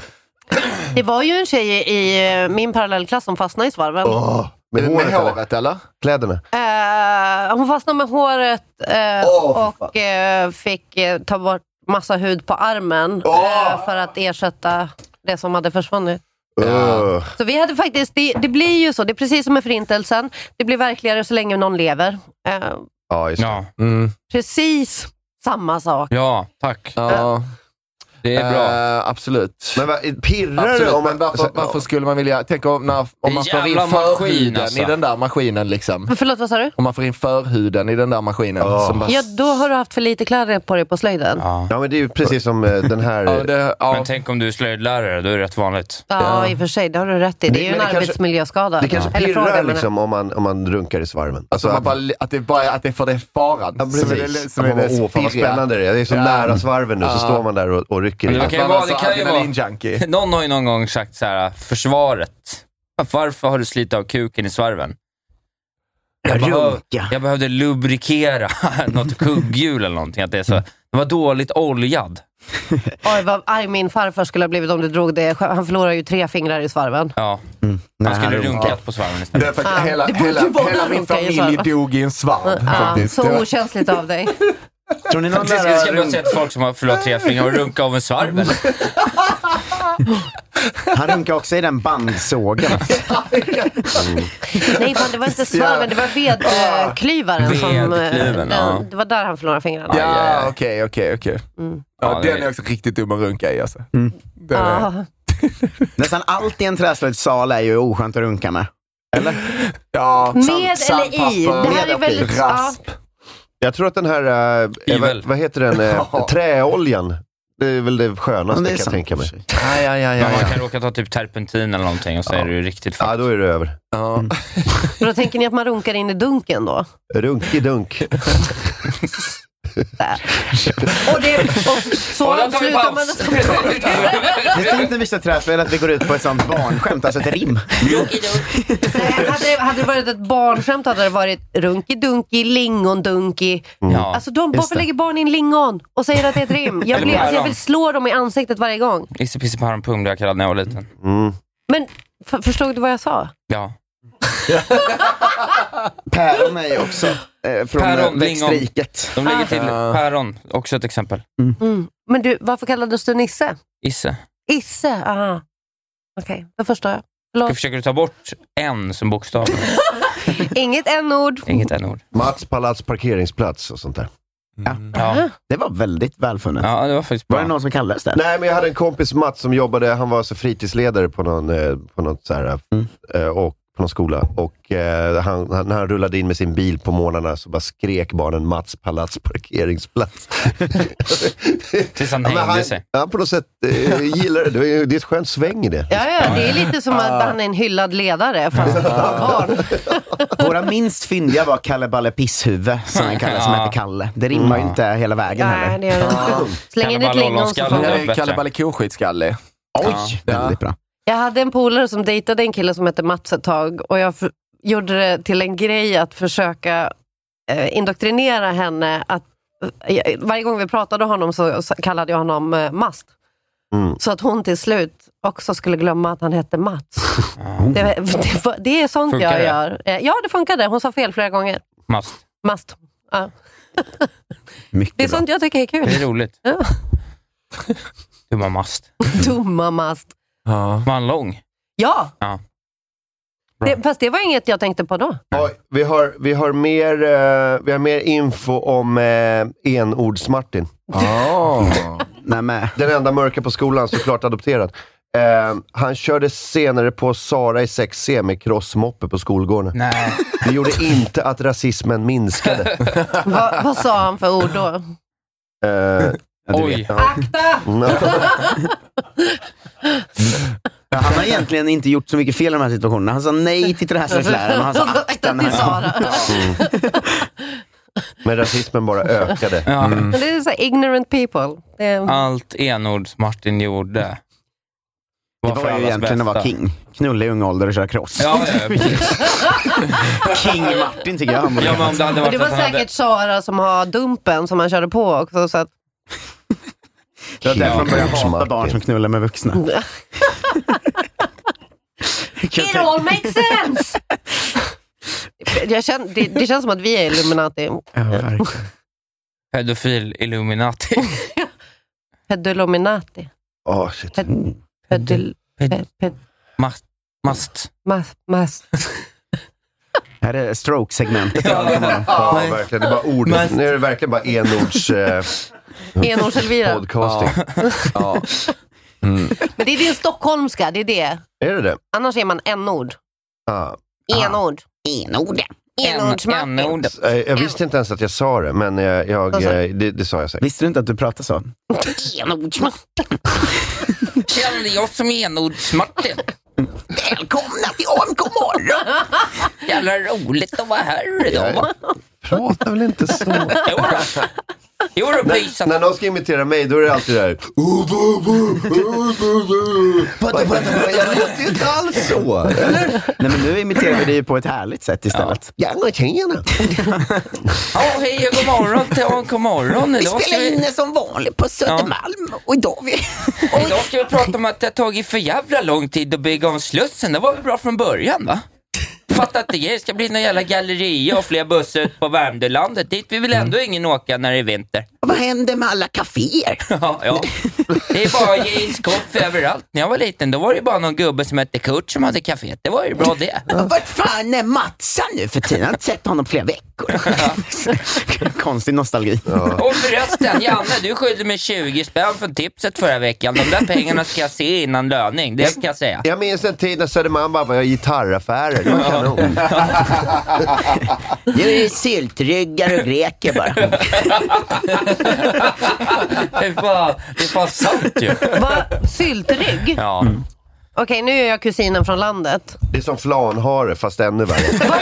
B: Det var ju en tjej i eh, min parallellklass som fastnade i svarven.
A: Åh, med
E: Med
A: håret, eller?
E: håret eller?
A: Kläderna.
B: Eh, hon fastnade med håret eh,
A: Åh,
B: och eh, fick eh, ta bort massa hud på armen
E: Åh.
B: eh, för att ersätta det som hade försvunnit.
A: Ugh.
B: Så vi hade faktiskt, det, det blir ju så, det är precis som med förintelsen. Det blir verkligare så länge någon lever. Eh,
A: Ja, just det.
C: Ja,
E: Mm.
B: precis samma sak.
C: ja, tack.
E: Ja,
C: Det är bra.
E: Eh, absolut.
A: Men va, pirrar det
E: Absolut,
A: om
E: men
A: man... alltså,
C: alltså,
E: varför, varför skulle man vilja... Tänk om, när, om man får in
C: Jävla maskin,
E: förhuden
C: alltså.
E: i den där maskinen. Liksom.
B: Men förlåt, vad sa du?
E: Om man får in förhuden i den där maskinen.
A: Ja.
E: Som bara,
B: Ja, då har du haft för lite kläder på dig på slöjden. Ja,
C: Ja.
A: Ja, men det är ju precis som eh, den här...
E: Ja, det, ja.
B: Alltså,
C: Men tänk om du är slöjdlärare, då är det rätt vanligt.
B: i och för sig, det har du rätt i. Det är ju
A: Men
B: en
A: det kanske-
B: arbetsmiljöskada.
A: Det kanske
B: Eller fråga,
A: pirrar
B: menar jag.
A: liksom om man, om man runkar i svarven.
E: Alltså, man bara, att, det bara, att det är för det faran.
A: Ja,
E: som är det,
A: precis.
E: som är
A: Att man
E: det
A: bara, Åh, fan vad
E: spirriga.
A: spännande det är. Det är så
E: Ja.
A: nära svarven nu, så
E: Ja.
A: står man där och, och rycker i
C: Men
A: den.
C: det kan ju
E: man
C: vara,
E: var
C: det
E: så
C: kan ju vara.
E: adrenalinjunkie.
C: Någon har ju någon gång sagt så här, försvaret. Varför har du slitit av kuken i svarven? Jag, behöv,
D: Runka.
C: jag behövde lubrikera något kugghjul eller någonting. Att det, är så, det var dåligt oljad.
B: Oj, vad arg min farfar skulle ha blivit om du drog det. Han förlorar ju tre fingrar i svarven.
C: Ja,
D: Mm. Nej,
C: man skulle
D: han runkar.
C: runkat på svarven
E: Det
C: istället.
E: är för
B: Ja,
E: att hela,
B: det borde
E: hela,
B: ju vara
E: hela min
B: någon okej,
E: familj
B: så.
E: dog i en svamp.
B: Ja,
E: faktiskt. Det
B: så
E: var-
B: okänsligt av dig.
D: Tror ni någon
C: Jag ska
D: lärare
C: jag bara säga till folk som har förlorat tre fingrar och runkat av en svarv. eller?
D: Han runkar också i den bandsågen.
B: Nej, fan, det var inte svarven, det var vedklyvaren. Som, eh,
C: Vedklyven, ja.
B: den, det var där han förlorade fingrarna.
E: Ja, okej, okej, okej.
B: Mm.
C: Ja,
E: Ja,
C: det
E: Den
C: vet.
E: är också riktigt dum att runka i alltså. Den är-
B: Ja.
D: Nästan allt i en träslöjdssal är ju oskönt att runka med.
E: Ja,
B: Med
E: sand-
B: eller i?
E: sandpapper,
B: Det här är väldigt... Ja,
E: Rasp.
A: Jag tror att den här, eh, eh,
C: Ivel.
A: vad, vad heter den, eh,
E: Ja.
A: träoljan. Det är väl det
D: Men
A: skönaste
D: det är
A: kan jag
D: sant.
A: tänka mig.
E: Ja, ja, ja,
C: Men
E: ja,
C: man
E: ja.
C: kan råka ta typ terpentin eller någonting och så är det ju riktigt
A: Ja,
C: fucked.
A: då är det över.
E: ja.
B: men då tänker ni att man runkar in i dunken då?
A: Runkidunk.
B: Där. Och, det, och så
C: Och där tar vi
B: avslutar man
C: paus.
D: Det är fint när vissa träslöjd att vi går ut på ett sånt barnskämt, alltså ett rim.
B: Nej, hade, hade det varit ett barnskämt hade det varit runki-dunki, lingondunki.
C: Ja.
B: Alltså de,
D: Just
B: varför
D: det.
B: lägger barn in lingon och säger att det är ett rim? Jag, blir, alltså, jag vill slå dem i ansiktet varje gång.
C: Isse pisse päronpung blev jag kallad när jag var liten.
A: Mm.
B: Men f- förstod du vad jag sa?
C: Ja.
D: Päron är ju också eh, från
C: Päron,
D: Päron,
C: lingon.
D: växtriket.
C: De lägger till
E: Ah.
C: päron, också ett exempel.
B: Mm. Men du, varför kallades du Nisse?
C: Isse.
B: Isse, aha. Okej, då förstår jag.
C: Jag försöker ta bort en som bokstav.
B: Inget n-ord.
C: Inget n-ord.
A: Mats palats parkeringsplats och sånt där.
B: Mm.
C: Ja.
D: Det var väldigt välfunnet.
C: ja, det var faktiskt
D: Var det
C: bra.
D: någon som kallades det?
A: Nej, men jag hade en kompis, Mats, som jobbade, han var alltså fritidsledare på någon, eh, på något så här,
D: Mm.
A: eh, och på någon skola. Och eh, han, han, när han rullade in med sin bil på morgnarna så bara skrek barnen Mats palats parkeringsplats.
C: Tills han
A: Ja, men
C: hängde
A: han,
C: sig.
A: han på något sätt eh, gillar det. det. är- Det är ett skönt sväng i det.
B: Ja, ja, det är lite som att han är en hyllad ledare, fast han var barn.
D: Våra minst fyndiga var Kalle Balle Pisshuvud, som han kallades, som
C: Ja.
D: hette Kalle. Det rimmar ju inte hela vägen
B: Nej,
D: heller.
B: det gör det inte. Släng in ett
C: Kannibal
B: lingon så
C: Ollonskalle.
B: får man.
C: bättre.
E: Kalle Balle Koskitskalle.
D: Oj,
E: Ja.
D: väldigt bra.
B: Jag hade en polare som dejtade en kille som hette Mats ett tag och jag f- gjorde det till en grej att försöka eh, indoktrinera henne. att eh, Varje gång vi pratade om honom så så kallade jag honom eh, Mast.
A: Mm.
B: Så att hon till slut också skulle glömma att han hette Mats. Det, var- det, var- det är sånt
C: Funkar
B: jag
C: det?
B: gör. Eh, Ja, det funkade. Hon sa fel flera gånger.
C: Mast.
B: Mast. Ja. Det är
D: Mycket bra.
B: sånt jag tycker är
C: Det är
B: kul.
C: roligt.
B: Ja.
C: Dumma mast.
B: Dumma Mast.
E: Ja.
C: Var han lång?
B: Ja!
C: Ja. Bra.
B: Det, fast det var inget jag tänkte på då.
A: Ja, vi, har, vi, har mer, eh, vi har mer info om eh, enords-Martin.
D: Nej, men,
A: Den enda mörka på skolan, såklart adopterad. Eh, han körde senare på Sara i 6C med crossmoppe på skolgården.
C: Nej.
A: Det gjorde inte att rasismen minskade.
B: Va, vad sa han för ord då?
A: Eh,
D: ja, du vet.
C: Oj.
A: ja.
B: Akta!
D: Ja, Han har egentligen inte gjort så mycket fel i de här situationerna. Han sa nej till träslöjdsläraren och
C: alltså
D: han sa "Ah, akta den
B: till
D: här.
B: Sara.
A: Men rasismen bara ökade.
C: Ja.
D: Mm.
B: Men Det är så här ignorant people. Det är,
C: Allt enords Martin gjorde
D: Det
C: var för
D: var ju
C: allas
D: egentligen att vara
C: bästa.
D: king. Knulla i ung ålder och köra cross.
C: Ja, ja, precis.
D: King Martin tycker jag han borde
C: ja, men om det hade
B: Men
C: varit
B: det var
C: att han
B: säkert Sara som har dumpen som han körde på också. Så att,
D: Det var därför man började
A: Martin.
D: hata barn som knullar med vuxna.
B: It all makes sense! jag känner, det, det känns som att vi är Illuminati.
D: Ja, verkligen.
C: hade pedofil Illuminati.
B: Pedulominati.
A: Åh, Ah, shit. Mm.
B: Ped, pedul,
C: Ped-
B: ped, ped,
C: Mast. Mast.
B: mas, mas.
D: Här är stroke-segmentet.
A: Ja, verkligen. Det är bara ord.
C: Men-
A: Nu är det verkligen bara enords eh,
B: Enords-Elvira.
A: podcasting.
E: Ja. Mm.
B: Men det är din stockholmska, det är det.
A: Är det det?
B: Annars är man n-ord.
A: Ah.
B: Enord.
D: Enord.
B: Enords-Martin.
C: N-ord.
A: Eh, Jag visste inte ens att jag sa det, men jag, jag,
B: Alltså-
A: eh, det, det sa jag säkert.
D: Visste du inte att du pratade så?
C: Kände jag som enords-Martin.
D: Välkomna till AMK morgon!
C: Jävla roligt att vara här idag.
A: Prata väl inte så.
C: Jodå. Jodå, pysen.
A: När någon ska imitera mig, då är det alltid det här. Jag låter ju inte alls så. Eller?
D: Nej men nu imiterar vi dig ju på ett härligt sätt istället.
A: Ja, tjena.
C: Ja, hej och god morgon till AMK morgon. Idag ska vi,
D: som vanligt på
C: Södermalm.
D: och idag vi...
C: idag ska vi prata om att det har tagit för jävla lång tid att bygga om Slussen. Det var väl bra från början va? Fattar inte det. Det ska bli någon jävla galleria och fler bussar ut på Värmdölandet. Dit vill väl ändå ingen åka när det är vinter.
D: Vad händer med alla kaféer?
C: Ja, ja. Det är bara jeans, kaffe överallt. När jag var liten då var det bara någon gubbe som hette Kurt som hade kaféet. Det var ju bra det.
D: Vart fan är Matsa nu för tiden? Jag har inte sett honom på flera veckor. Konstig nostalgi.
C: Och förresten, Janne, du skyllde mig 20 spänn från tipset förra veckan. De där pengarna ska jag se innan löning, det kan jag säga.
A: Jag minns en tid när Södermalm bara var gitarraffärer. Det var kanon.
D: Nu är det syltryggar och greker bara.
C: Det är fan, det är fan sant ju.
B: Va? Syltrygg?
C: Ja.
B: Okej, nu är jag kusinen från landet.
A: Det är som flanhare, fast ännu värre.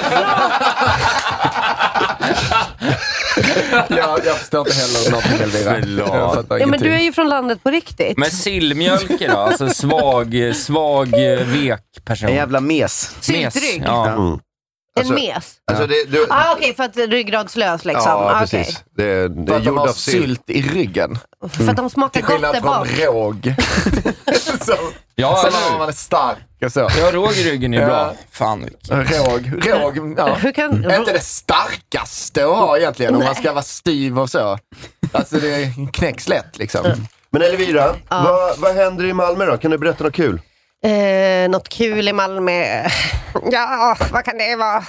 E: Jag, jag förstår inte heller någonting Elvira. Jag fattar
B: Ja, men
E: ingenting.
B: du är ju från landet på riktigt.
C: Men sillmjölke då? Alltså svag, svag eh, vek person.
D: En jävla mes.
B: Syltrygg?
C: Ja.
A: alltså-
B: en mes?
A: Alltså det, du,
B: Ah, Okej, för att ryggradslös liksom.
A: ja,
B: Ah, okej.
A: precis. Det, det
E: För
A: är
E: att de
A: gjord
E: har
A: av sylt.
E: sylt i ryggen.
B: För att de smakar
E: Till
B: gott
E: skillnad
B: där
E: från
B: bak.
E: råg. som
C: Ja,
E: Sen
C: eller
E: när
C: hur?
E: man är stark och så.
C: Ja, råg i ryggen är bra.
E: Ja.
C: Fan, vilken-
E: Råg. Råg, ja.
B: Hur kan...
E: Är inte det starkaste att ha egentligen om man ska vara styv och så. Alltså det knäcks lätt liksom.
A: Men Elvira,
B: Ah.
A: vad, vad händer i Malmö då? Kan du berätta något kul?
B: Eh, något kul i Malmö? Ja, vad kan det vara?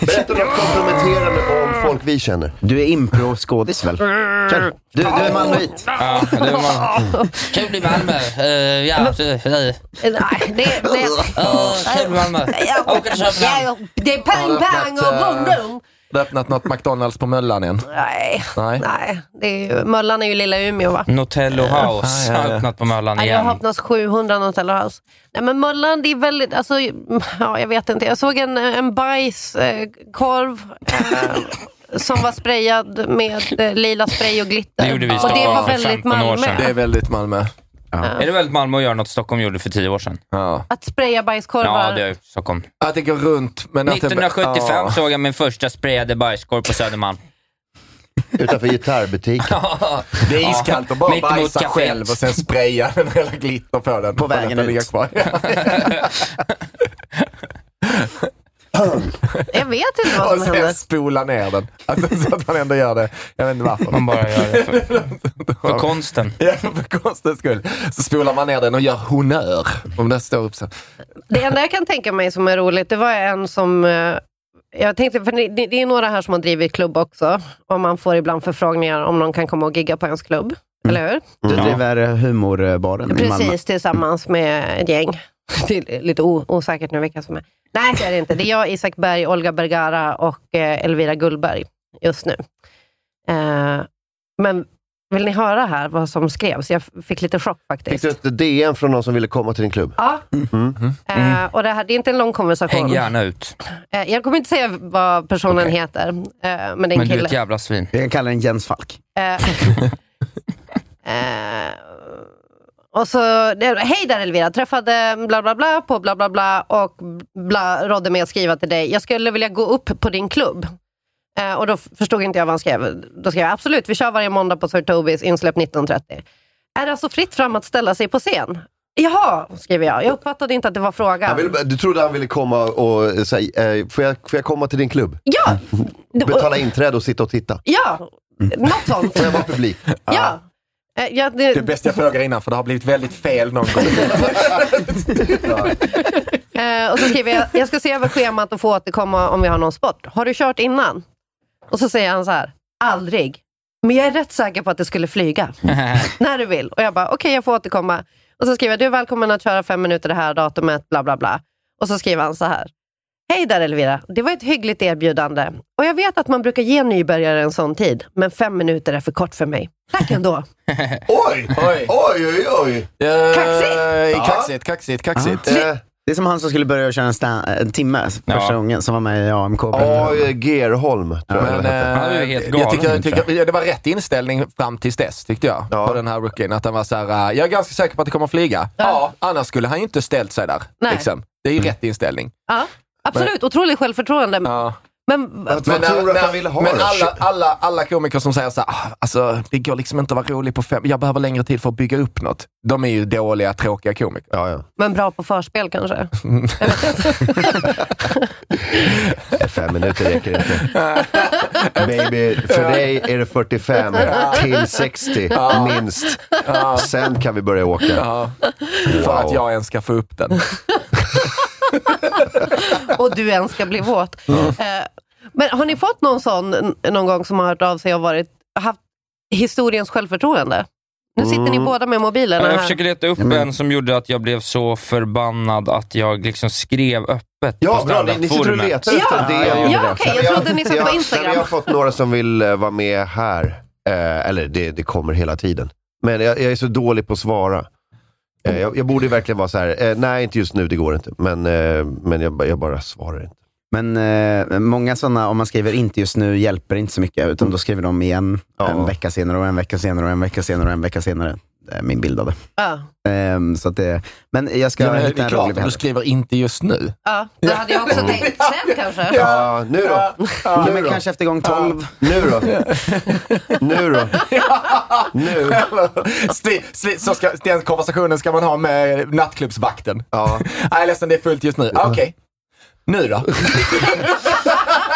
A: Berätta något komprometterande om folk vi känner.
D: Du är impro-skådis väl? Kör. Du, du är malmöit.
C: Ja, det var man. Kul i Malmö. Eh, ja, det- det-
B: Eh, Nej, det... det...
C: ja, kul i Malmö.
B: Ja,
C: Åker till Köpenhamn.
B: ja, det är pang, pang och
E: Har
B: bom,
E: öppnat, eh,
B: bom.
E: Du har öppnat något McDonalds på Möllan än?
B: Nej,
E: Nej.
B: nej. Det är ju, Möllan är ju lilla Umeå va?
C: Notello House
E: Ja, ja, ja.
C: har öppnat på Möllan
B: Nej, jag har
C: igen.
B: öppnat 700 Norrtello House. Nej men Möllan, det är väldigt, alltså, ja jag vet inte. Jag såg en, en bajskorv eh, som var sprayad med eh, lila spray och glitter.
C: Det gjorde vi i
B: och det
C: Stockholm
B: var
C: för
B: väldigt
C: 15 år
B: Malmö.
C: sedan.
E: Det är väldigt Malmö.
C: Är det väldigt Malmö att göra något Stockholm gjorde för tio år sedan?
E: Ja.
B: Att spraya bajskorvar.
C: Ja, det är Stockholm.
E: Att det går runt men att det...
C: 1975
E: Ja.
C: såg jag min första sprayade bajskorv på Södermalm.
A: Utanför gitarrbutiken.
E: Det är iskallt och bara
C: Mitt emot
E: bajsa
C: kaféet.
E: själv och sen spraya den hela glitter på den. På
D: vägen ut.
E: Kvar.
B: Jag vet inte vad
E: och
B: som händer.
E: sen spola ner den. Alltså, så att han ändå gör det. Jag vet inte varför.
C: Man bara gör det för, för konsten.
E: Ja, för konstens skull. Så spolar man ner den och gör honör. Om den står upp sen.
B: Det enda jag kan tänka mig som är roligt, det var en som... eh, Jag tänkte, för det, det är några här som har drivit klubb också. Och man får ibland förfrågningar om någon kan komma och gigga på ens klubb. Eller hur?
D: Du driver eh, humorbaren Mm. i Malmö.
B: Precis, tillsammans med ett gäng. Det är lite o, osäkert nu vilka som är. Nej, det är det inte. Det är jag, Isak Berg, Olga Bergara och eh, Elvira Gullberg just nu. Eh, men vill ni höra här vad som skrevs? Jag f- fick lite chock
A: Fick
B: faktiskt.
A: du Mm. ett DN från någon som ville komma till din klubb?
B: Ja.
D: Mm.
B: Eh, och det, här, det är inte en lång konversation.
C: Häng gärna ut.
B: Eh, Jag kommer inte säga vad personen
C: Okej.
B: heter, eh, men det är en
C: Men du är ett
B: kille.
C: jävla svin.
D: Vi kan kalla den Jens Falk.
B: Eh, eh, och så, det- hej där Elvira, träffade bla bla bla på bla bla bla och bla rådde mig att skriva till dig. Jag skulle vilja gå upp på din klubb. Eh, och då f- förstod inte jag vad han skrev. Då skrev jag absolut, vi kör varje måndag på Sir Tobis, insläpp 19.30. Är det alltså fritt fram att ställa sig på scen? Jaha, skriver jag. Jag uppfattade inte att det var frågan.
A: Han ville- du trodde han ville komma och säga, eh, får, jag, får jag komma till din klubb?
B: Ja!
A: Betala inträde och sitta och titta.
B: Ja! Något sånt.
A: Får jag vara publik?
B: Ja. Eh, ja,
E: Det är bäst jag frågar innan för det har blivit väldigt fel någon gång.
B: Eh, och så skriver jag, jag ska se över schemat och få återkomma om vi har någon sport. Har du kört innan? Och så säger han så här, aldrig. Men jag är rätt säker på att det skulle flyga. När du vill. Och jag bara, okej jag får återkomma. Och så skriver jag, du är välkommen att köra fem minuter det här datumet, bla bla bla. Och så skriver han så här, hej där Elvira. Det var ett hyggligt erbjudande. Och jag vet att man brukar ge nybörjare en sån tid, men fem minuter är för kort för mig. Tack ändå.
A: Oj!
E: Oj.
A: Oj, oj, oj!
E: Kaxigt! Eh, Kaxigt, kaxigt, kaxigt.
A: Eh,
D: Det är som han som skulle börja köra en, sta- en timme första
C: Ja.
D: gången, som var med i AMK.
A: Oj, Gerholm tror jag
E: Men,
A: det hette.
E: eh,
C: Han är ju helt
E: jag tycker,
C: galen,
E: jag tycker, ja, det var rätt inställning fram tills dess, tyckte jag.
A: Ja.
E: På den här rookien. Att han var så här, eh, jag är ganska säker på att det kommer flyga. Ja. annars skulle han ju inte ställt sig där.
B: Nej.
E: Liksom. Det är ju rätt inställning.
B: Ja, absolut, otroligt självförtroende.
E: Ja.
B: Men
A: Vad tror du att han ville ha
E: men
A: då?
E: alla, alla, alla komiker som säger så här, "Ah, alltså, det går liksom inte att vara rolig på fem, jag behöver längre tid för att bygga upp något. De är ju dåliga, tråkiga komiker.
A: Ja, ja.
B: Men bra på förspel kanske?
A: Fem minuter räcker inte. Baby, för dig är det 45 till 60 minst. Sen kan vi börja åka.
E: Ja. För att jag ens ska få upp den.
B: och du ens ska bli våt. Eh, Men har ni fått någon sån n- någon gång som har hört av sig och varit, haft historiens självförtroende? Nu sitter ni båda med mobilerna
C: Jag
B: här.
C: försöker leta upp en som gjorde att jag blev så förbannad att jag liksom skrev öppet
A: Ja,
C: på
A: bra. Ni, ni sitter och
C: standup-forumet.
A: letar efter
B: Ja,
A: det.
B: ja, ja, okej, jag
A: Men
B: trodde ni satt på
A: ja, nej, men
B: Instagram.
A: Jag har fått några som vill eh, vara med här. Eh, eller det, det kommer hela tiden. Men jag, jag är så dålig på att svara. Eh, jag, jag borde ju verkligen vara så här. Eh, nej, inte just nu, det går inte. Men, eh, men jag, ba- jag bara svarar inte.
D: Men eh, många sådana, om man skriver inte just nu, hjälper inte så mycket. Utan då skriver de igen
A: Ja.
D: en vecka senare och en vecka senare och en vecka senare och en vecka senare. eh, min bild av det.
B: Ja.
D: Ehm, så att det men jag ska
E: Ja, men det är
D: hitta en
E: klart,
D: rolig
E: du
D: bild.
E: skriver inte just nu.
B: Ja, det hade jag också tänkt. Sen kanske.
A: Ja, nu då?
D: Ja,
A: nu
D: men
A: då?
D: kanske efter gång 12.
A: Nu då? Nu då? Nu?
E: Sli, sli, så ska, den konversationen ska man ha med nattklubbsvakten.
A: Ja.
E: Nej, jag är ledsen, det är fullt just nu. Ah, Okej. Nu då?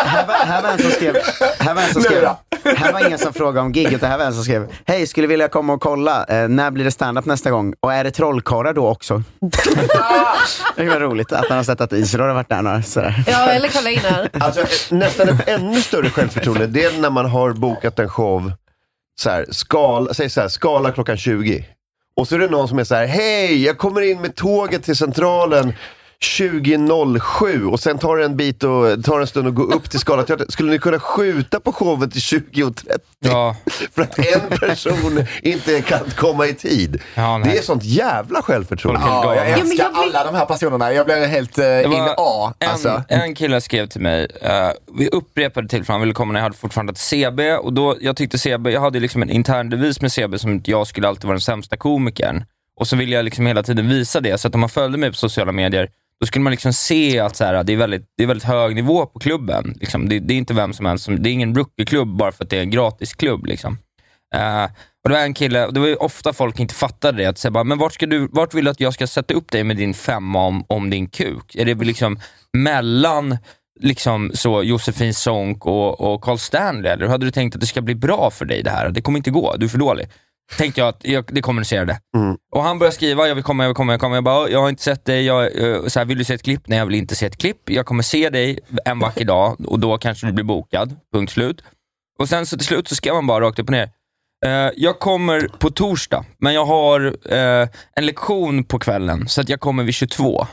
D: Här var, här var en som skrev, här var, en som
E: Nu
D: skrev,
E: då?
D: här var ingen som frågade om gig, utan här var en som skrev, hej, skulle vilja komma och kolla, eh, när blir det standup nästa gång? Och är det trollkarlar då också? det var roligt att han har sett att Israel har varit där några, sådär.
B: Ja, eller kolla in här.
A: Alltså, eh, nästan ett ännu större självförtroende, det är när man har bokat en show, så här, skala, säg så här, skala klockan 20. Och så är det någon som är så här, hej, jag kommer in med tåget till Centralen 20.07 och sen tar det en bit och tar en stund att gå upp till Skala teater. Skulle ni kunna skjuta på showen till 20.30?
C: Ja,
A: För att en person inte kan komma i tid.
C: Ja, nej.
A: det är sånt jävla självförtroende.
C: Folk är
E: Ja, jag
B: Jo,
E: älskar
C: galna.
B: men jag blir-
E: alla de här personerna. Jag blev helt eh,
C: Det
E: in
C: var
E: A.
C: en,
E: Alltså.
C: en kille skrev till mig, eh, vi upprepade till för han ville komma när jag hade fortfarande ett CB. Och då, jag, tyckte CB jag hade liksom en intern devis med CB som att jag skulle alltid vara den sämsta komikern. Och så ville jag liksom hela tiden visa det, så att om man följde mig på sociala medier, då skulle man liksom se att så här, det, är väldigt, det är väldigt hög nivå på klubben. Liksom. Det, det är inte vem som helst, som, det är ingen rookie-klubb bara för att det är en gratisklubb. Liksom. Eh, och det var en kille, och det var ju ofta folk inte fattade det, att säga bara, men vart, ska du, vart vill du att jag ska sätta upp dig med din femma om, om din kuk? Är det väl liksom mellan liksom så Josefin Sonck och, och Carl Stanley, eller hade du tänkt att det ska bli bra för dig det här? Det kommer inte gå, du är för dålig. Tänkte jag att jag, det kommunicerade. Och han började skriva, jag vill komma, jag vill komma, jag kommer. Jag bara, jag har inte sett dig, jag, eh, så här, vill du se ett klipp? Nej, jag vill inte se ett klipp. Jag kommer se dig en vacker dag och då kanske du blir bokad. Punkt slut. Och sen så till slut så skrev han bara rakt upp och ner. Eh, jag kommer på torsdag, men jag har eh, en lektion på kvällen, så att jag kommer vid 22.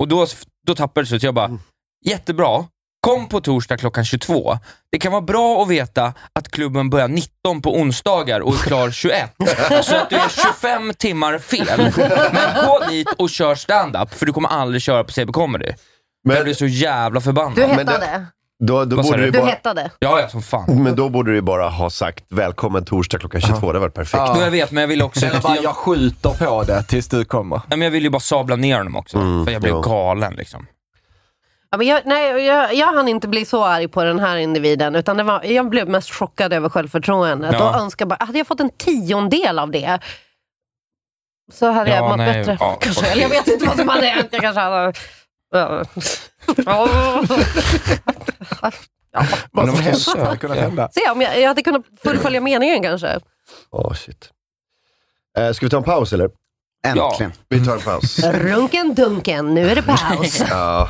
C: Och då, då tappade det sig, så jag bara, jättebra. Kom på torsdag klockan 22. Det kan vara bra att veta att klubben börjar 19 på onsdagar och är klar 21. Så att du är 25 timmar fel. Men gå dit och kör stand-up för du kommer aldrig köra på CB comedy. Men... Jag
A: Men,
C: blev så jävla
B: Du
C: förbannad.
A: men det-
B: hettade.
A: då, då
C: Vad sa
A: borde du
C: du?
B: Du
A: bara,
B: hettade.
C: Ja, ja, som fan.
A: men då borde du ju bara ha sagt välkommen torsdag klockan 22. Det hade varit perfekt.
E: Ja.
C: Jo, jag vet, men jag ville också...
E: Eller bara, jag skjuter på det tills du kommer.
C: Ja, men jag ville ju bara sabla ner honom också,
A: Mm,
C: för jag blev
A: jo.
C: galen. Liksom.
B: Ja, men jag, nej, jag, jag hann inte bli så arg på den här individen, utan det var, jag blev mest chockad över självförtroendet
C: Ja.
B: och önskar bara, hade jag fått en tiondel av det så hade
C: Ja,
B: jag mått
C: nej,
B: bättre.
C: ja,
B: kanske.
C: okej.
B: Eller jag vet inte vad som hade hänt. Jag kanske hade... Ja. Ja.
E: Vad som
C: Men de
E: helst
C: försöker.
E: hade kunnat hända.
B: Se om jag, jag hade kunnat fullfölja meningen kanske.
A: Åh shit. Eh, ska vi ta en paus eller?
D: Äntligen.
A: Vi tar en paus.
B: Runken dunken, nu är det paus.
A: ja.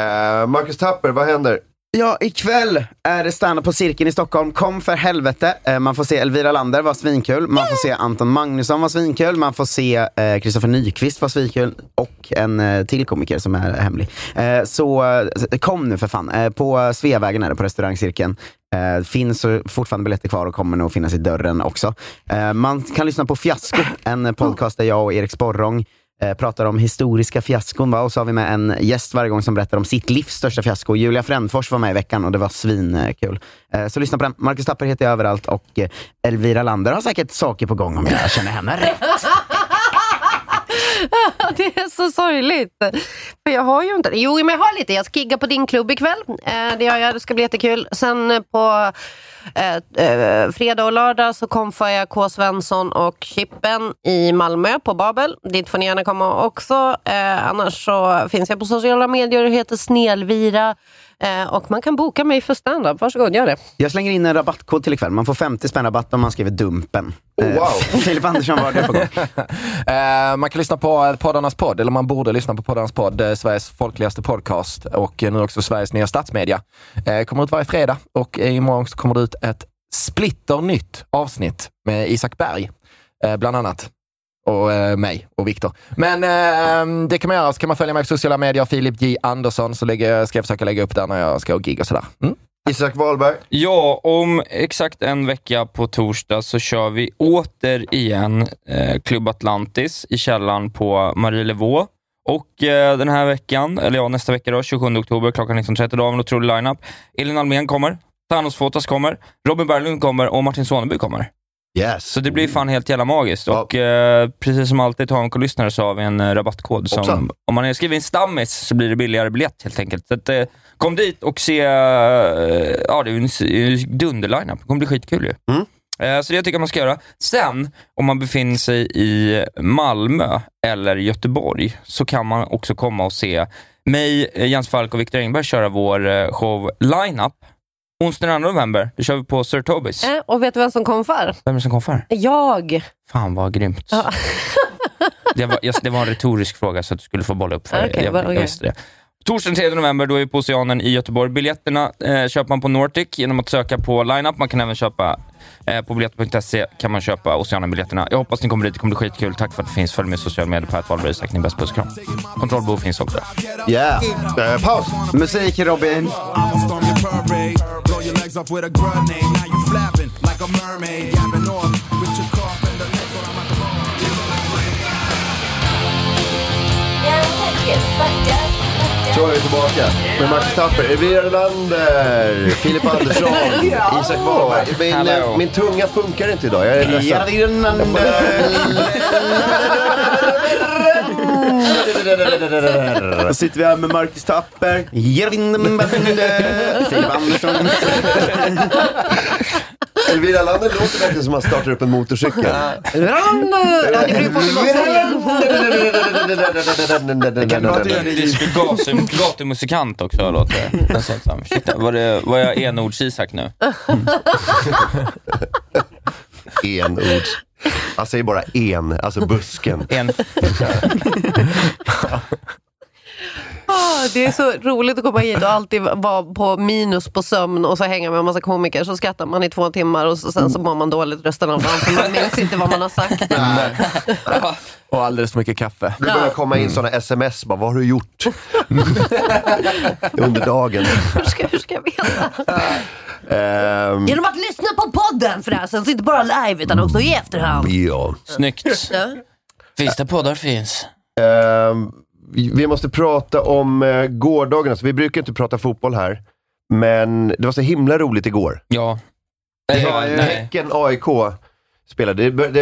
A: Eh, Marcus Tapper, vad händer?
D: Ja, ikväll är det stand på Cirkeln i Stockholm. Kom för helvete. Eh, Man får se Elvira Lander, var svinkul. Man får se Anton Magnusson, var svinkul. Man får se Kristoffer Nyqvist, var svinkul. Och en eh, till komiker som är hemlig. Eh, Så eh, kom nu för fan. Eh, På Sveavägen är det, på restaurangcirkeln. Eh, Finns eh, fortfarande biljetter kvar och kommer nog finnas i dörren också. Eh, Man kan lyssna på Fiasko, en eh, podcast där jag och Erik Sporrong eh, pratar om historiska fiaskon. Va? Och så har vi med en gäst varje gång som berättar om sitt livs största fiasko. Julia Frändfors var med i veckan och det var svinkul. Eh, så lyssna på den. Marcus Tapper heter jag överallt och eh, Elvira Lander har säkert saker på gång om jag känner henne rätt.
B: det är så sorgligt. För jag har ju inte... Jo, men jag har lite. Jag ska gigga på din klubb ikväll. Eh, det gör jag. Det ska bli jättekul. Sen eh, på eh, eh, fredag och lördag så komfar jag K. Svensson och Chippen i Malmö på Babel. Dit får ni gärna komma också. Eh, annars så finns jag på sociala medier och heter Snelvira. Eh, och man kan boka mig för standup. Varsågod, gör det.
D: Jag slänger in en rabattkod till ikväll. Man får 50 spänn rabatt om man skriver Dumpen. Eh,
A: Oh, wow.
D: Filip Andersson, vad har du på gång?
E: Eh, man kan lyssna på eh, poddarnas podd, eller man borde lyssna på poddarnas podd, eh, Sveriges folkligaste podcast och eh, nu också Sveriges nya statsmedia. Eh, kommer ut varje fredag och eh, imorgon så kommer det ut ett splitternytt avsnitt med Isak Berg, eh, bland annat. Och eh, mig och Viktor. Men eh, det kan man göra. Så kan man följa mig på sociala medier, Filip J Andersson, så lägger, jag- ska jag försöka lägga upp där när jag ska och gig och sådär. Mm.
A: Isak Wahlberg?
C: Ja, om exakt en vecka på torsdag så kör vi återigen eh, Club Atlantis i källaren på Marie Levaux. Och eh, den här veckan, eller ja, nästa vecka då, 27 oktober klockan 19.30, då har vi en otrolig lineup. Elin Almen kommer, Thanos Fotas kommer, Robin Berglund kommer och Martin Soneby kommer.
A: Yes.
C: Så det blir fan helt jävla magiskt.
A: Ja.
C: Och eh, precis som alltid Taranko-lyssnare så har vi en eh, rabattkod.
A: Hoppsan.
C: Som, om man skriver in stammis så blir det billigare biljett helt enkelt. Så att, eh, kom dit och se, eh, ja det är ju en s- en dunderline-up. Det kommer bli skitkul ju.
A: Mm.
C: Eh, så det tycker jag man ska göra. Sen, om man befinner sig i Malmö eller Göteborg så kan man också komma och se mig, eh, Jens Falk och Viktor Engberg köra vår eh, show Lineup. Onsdag den 2 november, då kör vi på Sir Tobis.
B: Eh, Och vet du vem som kom för?
C: Vem är det som kom för?
B: Jag!
C: Fan vad grymt.
B: Ja.
C: det, var, jag, det var en retorisk fråga så att du skulle få bolla upp för
B: Ah, Okej,
C: jag,
B: bara-
C: jag
B: okej.
C: visste det. Torsdagen 3 november, då är vi på Oceanen i Göteborg. Biljetterna eh, köper man på Nordic genom att söka på lineup. Man kan även köpa eh, på biljett.se kan man köpa Oceanen-biljetterna. Jag hoppas ni kommer dit, det kommer bli skitkul. Tack för att det finns. Följ med i sociala medier på att Wahlberg Isak. Ni är bäst. Puss och kram. Kontrollbehov finns också.
A: Yeah. Eh, paus.
D: Musik Robin.
G: I'ma storm your parade. Blow your legs off with a grenade. Now you flapping like a mermaid. Gapping off with your carpenter. I'm at the bar.
A: Så är vi tillbaka med Max Tapper, Evira Lander, Filip Andersson, Isak Wahlberg. Min,
C: Hallå.
A: eh, min tunga funkar inte idag, jag är ledsen.
D: Då sitter vi här med Marcus Tapper, Jervindenbande, Filip Andersson.
A: Elvira Lander låter verkligen som att man startar upp en motorcykel.
C: Disco gatu- Gatumusikant också låter det. Nästan som- Shit, Var, det, var jag enords-Isak nu?
A: Enords. Han säger bara en, alltså busken.
C: En,
B: Ah, det är så roligt att komma hit och alltid vara på minus på sömn och så hänga med en massa komiker. Så skrattar man i två timmar och så, sen så mår man dåligt resten av dagen för man minns inte vad man har sagt.
E: Och alldeles för mycket kaffe.
A: Det börjar komma in sådana sms, bara, vad har du gjort? Under dagen.
B: Hur ska, hur ska jag veta?
A: Ehm,
B: Genom att lyssna på podden förresten, så inte bara live utan också i efterhand.
A: ja.
C: snyggt. Finns det poddar finns.
A: Ehm, vi måste prata om eh, gårdagen. Alltså, vi brukar inte prata fotboll här, men det var så himla roligt igår.
C: Ja.
A: Det
C: Nej,
A: var
C: ja,
A: ju
C: nej.
A: Häcken-AIK spelade. Det, bör- det,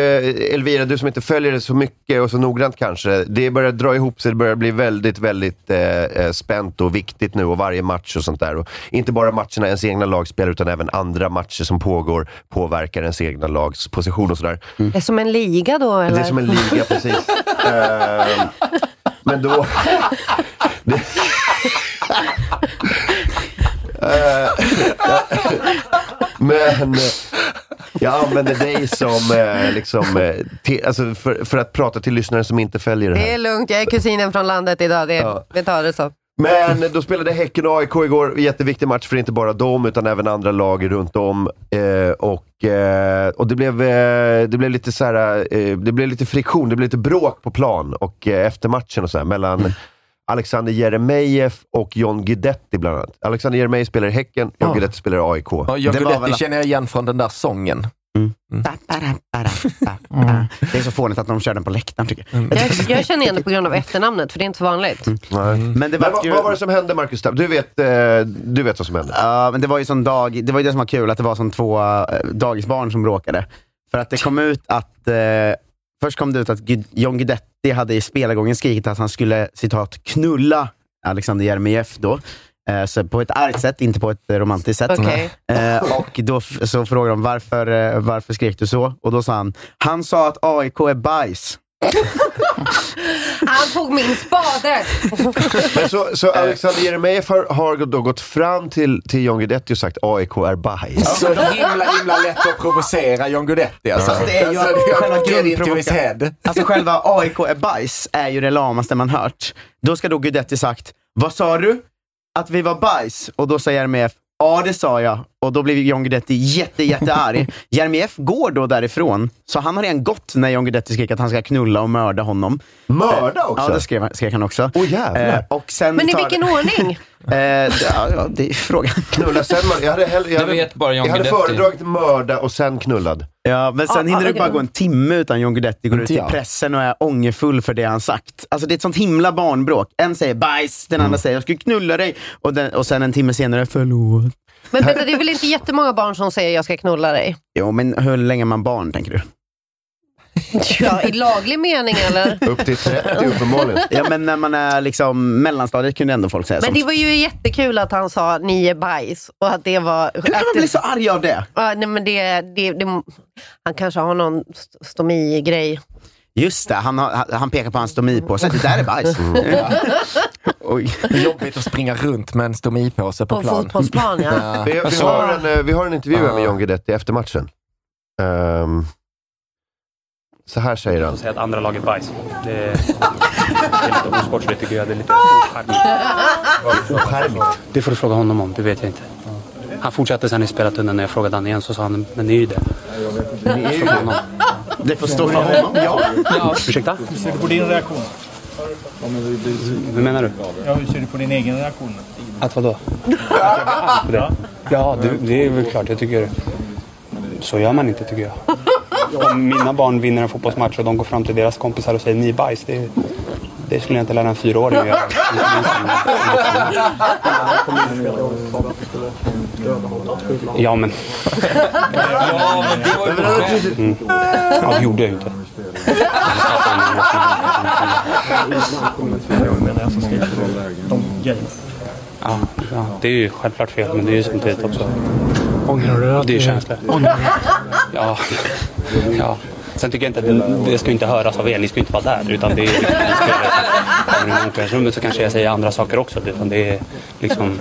A: Elvira, du som inte följer det så mycket och så noggrant kanske. Det börjar dra ihop sig. Det börjar bli väldigt, väldigt eh, eh, spänt och viktigt nu och varje match och sånt där. Och inte bara matcherna ens egna lag spelar, utan även andra matcher som pågår påverkar ens egna lags position och sådär.
B: Det är som en liga då eller?
A: Det är som en liga, precis. Ehm, men då... det, Eh, men eh, jag använder dig som, eh, liksom, eh, te, alltså för, för att prata till lyssnaren som inte följer det
B: Det är
A: här.
B: lugnt, jag är kusinen från landet idag. Det är,
A: Ja.
B: Vi tar det så.
A: Men då spelade Häcken och AIK igår. Jätteviktig match för inte bara dem, utan även andra lag runt om. Eh, och eh, och det, blev, eh, det blev lite så här, eh, det blev lite friktion, det blev lite bråk på plan och eh, efter matchen och så här, mellan Alexander Jeremejeff och John Guidetti bland annat. Alexander Jeremejeff spelar i Häcken, John
E: Ja.
A: Guidetti spelar i AIK.
E: Ja, jag
D: Det
E: det
D: var väl-
E: känner jag igen från den där sången.
D: Det är så fånigt att de kör den på läktaren tycker jag.
B: Jag, jag känner igen det på grund av efternamnet för det är inte så vanligt.
A: Nej.
D: Men det
A: Men
D: var
A: vad,
D: ju...
A: vad var det som hände, Marcus Tapp? Du vet, eh, du vet vad som hände.
D: Ja, men det var ju sån dag, det var ju det som var kul, att det var som två eh, dagisbarn som bråkade. För att det kom ut att, eh, först kom det ut att Gud, John Guidetti hade i spelargången skrikit att han skulle, citat, knulla Alexander Jeremejeff då. Eh, så på ett argt sätt, inte på ett eh, romantiskt sätt.
B: Okej.
D: Eh, och då f- så frågade de varför, eh, varför skrek du så? Och då sa han, han sa att AIK är bajs.
B: Han tog min spade!
A: Men så, så
D: Eh.
A: Alexander Jeremejeff har, har då gått fram till, till John Guidetti och sagt AIK är bajs.
E: Så himla, himla lätt att provocera John Guidetti alltså.
D: Fast det är ju
E: Alltså, det är-
D: själva
E: get into his
D: grundprovoka-
E: head.
D: Alltså själva AIK är bajs är ju det lamaste man hört. Då ska då Guidetti sagt, vad sa du? Att vi var bajs? Och då säger Jeremejeff, ja det sa jag. Och då blev John Guidetti jätte, jättearg. Jeremejeff går då därifrån, så han har redan gått när John Guidetti skrek att han ska knulla och mörda honom.
A: Mörda också?
D: Ja, det skrek, han- skrek han också.
A: Åh, jävlar.
D: Eh, och sen
B: Men i
D: tar-
B: vilken ordning?
D: Eh, ja, ja, det är frågan.
A: Knulla sen mörda. Jag hade, hellre, jag
C: Jag
A: hade,
C: vet bara John
A: jag hade
C: Guidetti.
A: föredragit mörda och sen knullad.
D: Ja, men sen
B: Ah,
D: hinner
B: ah,
D: det
B: okej.
D: bara gå en timme utan John Guidetti går ut i
E: ja.
D: pressen och är ångerfull för det han sagt. Alltså det är ett sånt himla Mm. barnbråk. En säger bajs, den andra säger jag skulle knulla dig. Och, den, och sen en timme senare, förlåt.
B: Men Peter, det är väl inte jättemånga barn som säger jag ska knulla dig?
D: Jo, men hur länge är man barn, tänker du?
B: Ja, I laglig mening eller?
A: Upp till 30 uppenbarligen.
D: Ja, men när man är liksom mellanstadiet kunde ändå folk säga
B: Men
D: sånt.
B: det var ju jättekul att han sa ni är bajs och att det var...
D: Hur kan
B: att
D: man bli så arg av det?
B: Ja, nej, men det, det, det, han kanske har någon st- stomi-grej.
D: Just det, han, har, han pekar på hans stomipåse. Det där är bajs. Ja. Oj.
E: Det är jobbigt att springa runt med en stomipåse på
B: På
E: plan.
B: fotbollsplan ja.
E: Ja.
A: Vi, vi, har en, eh, vi har en intervju här med John Guidetti efter matchen. Ehm, så här säger han.
H: säga att andra laget bajs. Det är, det är lite osportsligt tycker jag. Det är lite ocharmigt.
A: Ocharmigt.
H: Det får du fråga honom om, det vet jag inte. Han fortsatte sen i spelartunneln när jag frågade han igen så sa han, men ni är ju det.
A: Ni är ju
H: Honom.
D: Det får stå för honom. Ja.
H: Ursäkta?
I: Hur ser du på din reaktion?
H: Hur menar du?
I: Ja, hur ser du på din egen reaktion?
H: Att vadå? Det. Ja, det, det är väl klart. Jag tycker... Så gör man inte tycker jag. Om mina barn vinner en fotbollsmatch och de går fram till deras kompisar och säger ni är bajs. Det, det skulle jag inte lära en fyraåring att göra. Ja men,
C: Ja, men det var ju skönt.
H: Mm. ja, det gjorde jag ju inte. Ja, ja, det är ju självklart fel men det är ju samtidigt också.
I: Ångrar du att
H: Det är känslor. Ja. ja. Sen tycker jag inte att det, det ska inte höras av er. Ni ska inte vara där. Utan det är liksom, ni ska- kommer ni i omklädningsrummet så kanske jag säger andra saker också. Utan det är liksom...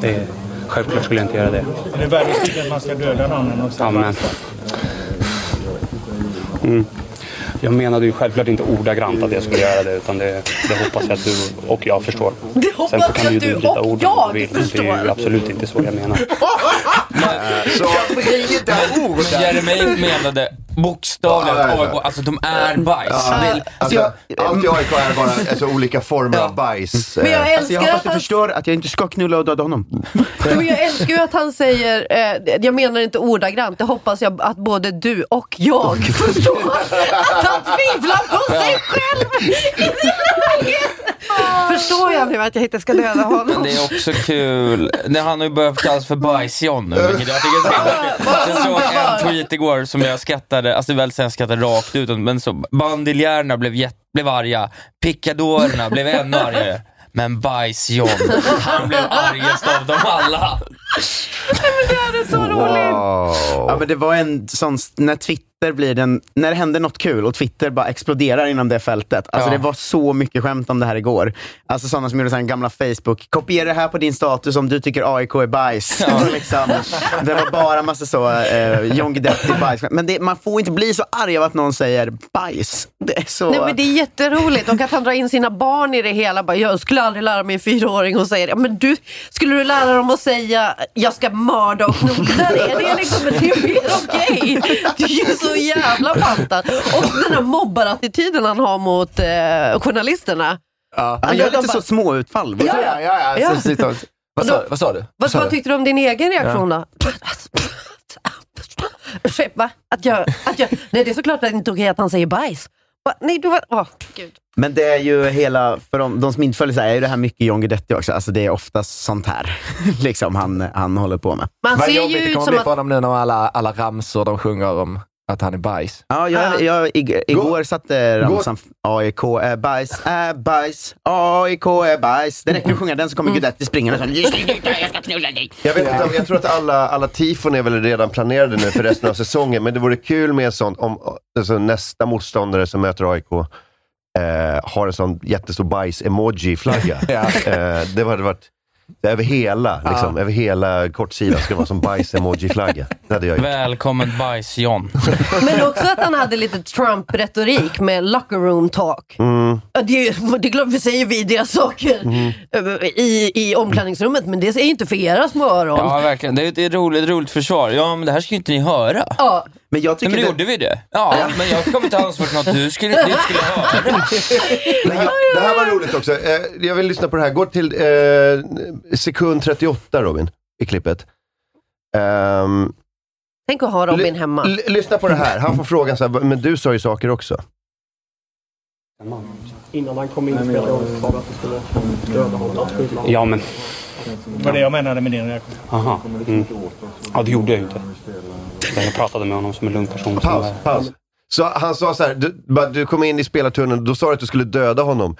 H: Det är, självklart skulle jag inte göra det.
I: Är det värre att tycka att man ska döda någon än att
H: Ja,
I: säga
H: men... Mm. Jag menade ju självklart inte ordagrant att jag skulle göra det. Utan det, det hoppas jag att du och jag förstår.
B: Det
H: Sen
B: hoppas
H: så kan
B: jag
H: ju
B: att du
H: du byta
B: och
H: ord om du
B: jag
H: vill. Det är ju
B: förstår.
H: absolut inte så jag menar.
A: Så,
C: Men Jeremy menade bokstavligt
A: Ja, ja, ja.
C: AIK, alltså de är bajs. Det,
A: alltså, allt i AIK är bara alltså, olika former av bajs.
B: Men jag
A: Eh,
D: Alltså,
B: älskar,
D: jag hoppas
B: att
D: du
B: han,
D: förstår att jag inte ska knulla och döda honom.
B: men jag älskar ju att han säger, eh, jag menar inte ordagrant, det hoppas jag att både du och jag förstår. Att han tvivlar på sig själv i det läget. Förstår jag nu att jag inte ska döda
C: men
B: honom?
C: det är också kul. Det, han har ju börjat kallas för bajs-John nu, vilket jag tycker är så himla kul. Jag såg en tweet igår som jag skrattade, alltså det var sen jag skrattade rakt ut, men så bandiljärerna blev, jätt, blev arga, pickadorerna blev ännu argare. Men bajs-John, han blev argast av dem alla.
A: eh. wow.
D: Ja, men det var en sån, när Twitter blir den, när det händer något kul och Twitter bara exploderar inom det fältet. Alltså
C: Ja.
D: det var så mycket skämt om det här igår. Alltså sådana som gjorde sån här gamla Facebook, kopiera det här på din status om du tycker AIK är bajs. Det var liksom, det var bara massa så, eh, John Guidetti bajs. Men det, man får inte bli så arg av att någon säger bajs. Det är så...
B: Nej men det är jätteroligt och att han drar in sina barn i det hela. Bara, jag skulle aldrig lära min fyraåring och säger, "Ja, men du, skulle du lära dem att säga jag ska mörda och knulla dig? Det är liksom, men det är mer okej. Det är ju så jävla pantat. Och den här mobbarattityden han har mot eh, journalisterna.
D: Han gör lite så liksom. små utfall.
B: Ja,
A: Ja, ja, ja.
B: Ja.
A: Så, så, så,
E: Vad sa, vad sa du?
B: Vad,
E: sa
B: vad
E: du?
B: tyckte du om din egen reaktion då? Ursäkta, va? Att jag, att jag, nej det är såklart att det inte är okej att han säger bajs. Va? Nej, du var, åh, gud.
D: Men det är ju hela, för de, de som inte följer så här, är ju det här mycket John Guidetti också. Alltså det är oftast sånt här liksom han, han håller på med.
B: Man
E: Vad
B: ser ju
E: jobbigt det
B: ut
E: kommer
B: som
E: bli
B: att
E: för honom nu när alla, alla ramsor de sjunger om att han är bajs.
D: Ja, jag, jag, ig- igår satte
A: Gå-
D: ramsan AIK är bajs, är bajs, AIK är bajs. Det räcker att sjunga den så kommer Guidetti springande. Så, här,
A: Jag, vet inte, om- jag tror att alla, alla tifon är väl redan planerade nu för resten av säsongen, men det vore kul med en sån, om alltså, nästa motståndare som möter AIK eh, har en sån jättestor bajs-emoji-flagga. eh, det hade varit över hela, liksom, över hela kortsidan ska det vara som bajs-emoji-flagga. Det hade jag gjort.
C: Välkommen bajs-John.
B: Men också att han hade lite Trump-retorik med locker room talk. Ja, Det, är- det är klart, vi säger vidriga saker eh, i, i omklädningsrummet, men det är inte för era små öron. Ja.
C: Ja, verkligen. Det är ett- det är ett roligt, roligt försvar. Ja, men det här ska ju inte ni höra.
D: Men jag
C: Nej,
D: tycker
C: men då
D: det,
C: gjorde vi det. Ja, men jag kommer inte ha ansvar för något du skulle, du skulle höra.
A: Det här, det här var roligt också. Eh, jag vill lyssna på det här. Gå till eh, sekund 38, Robin, i klippet. Ehm,
B: Tänk att ha Robin
A: Ly-
B: hemma.
A: L- lyssna på det här. Han får frågan så här, men du sa ju saker också.
J: Innan han kom in spelade jag för att det skulle döda honom. att skydda honom.
H: Ja, men...
I: Det var det jag menade med din reaktion.
H: Aha. Mm. Ja, det gjorde jag ju inte. Jag pratade med honom som en lugn person.
A: Paus, paus. Så han sa så här, du, bara, du kom in i spelartunneln, då sa du att du skulle döda honom.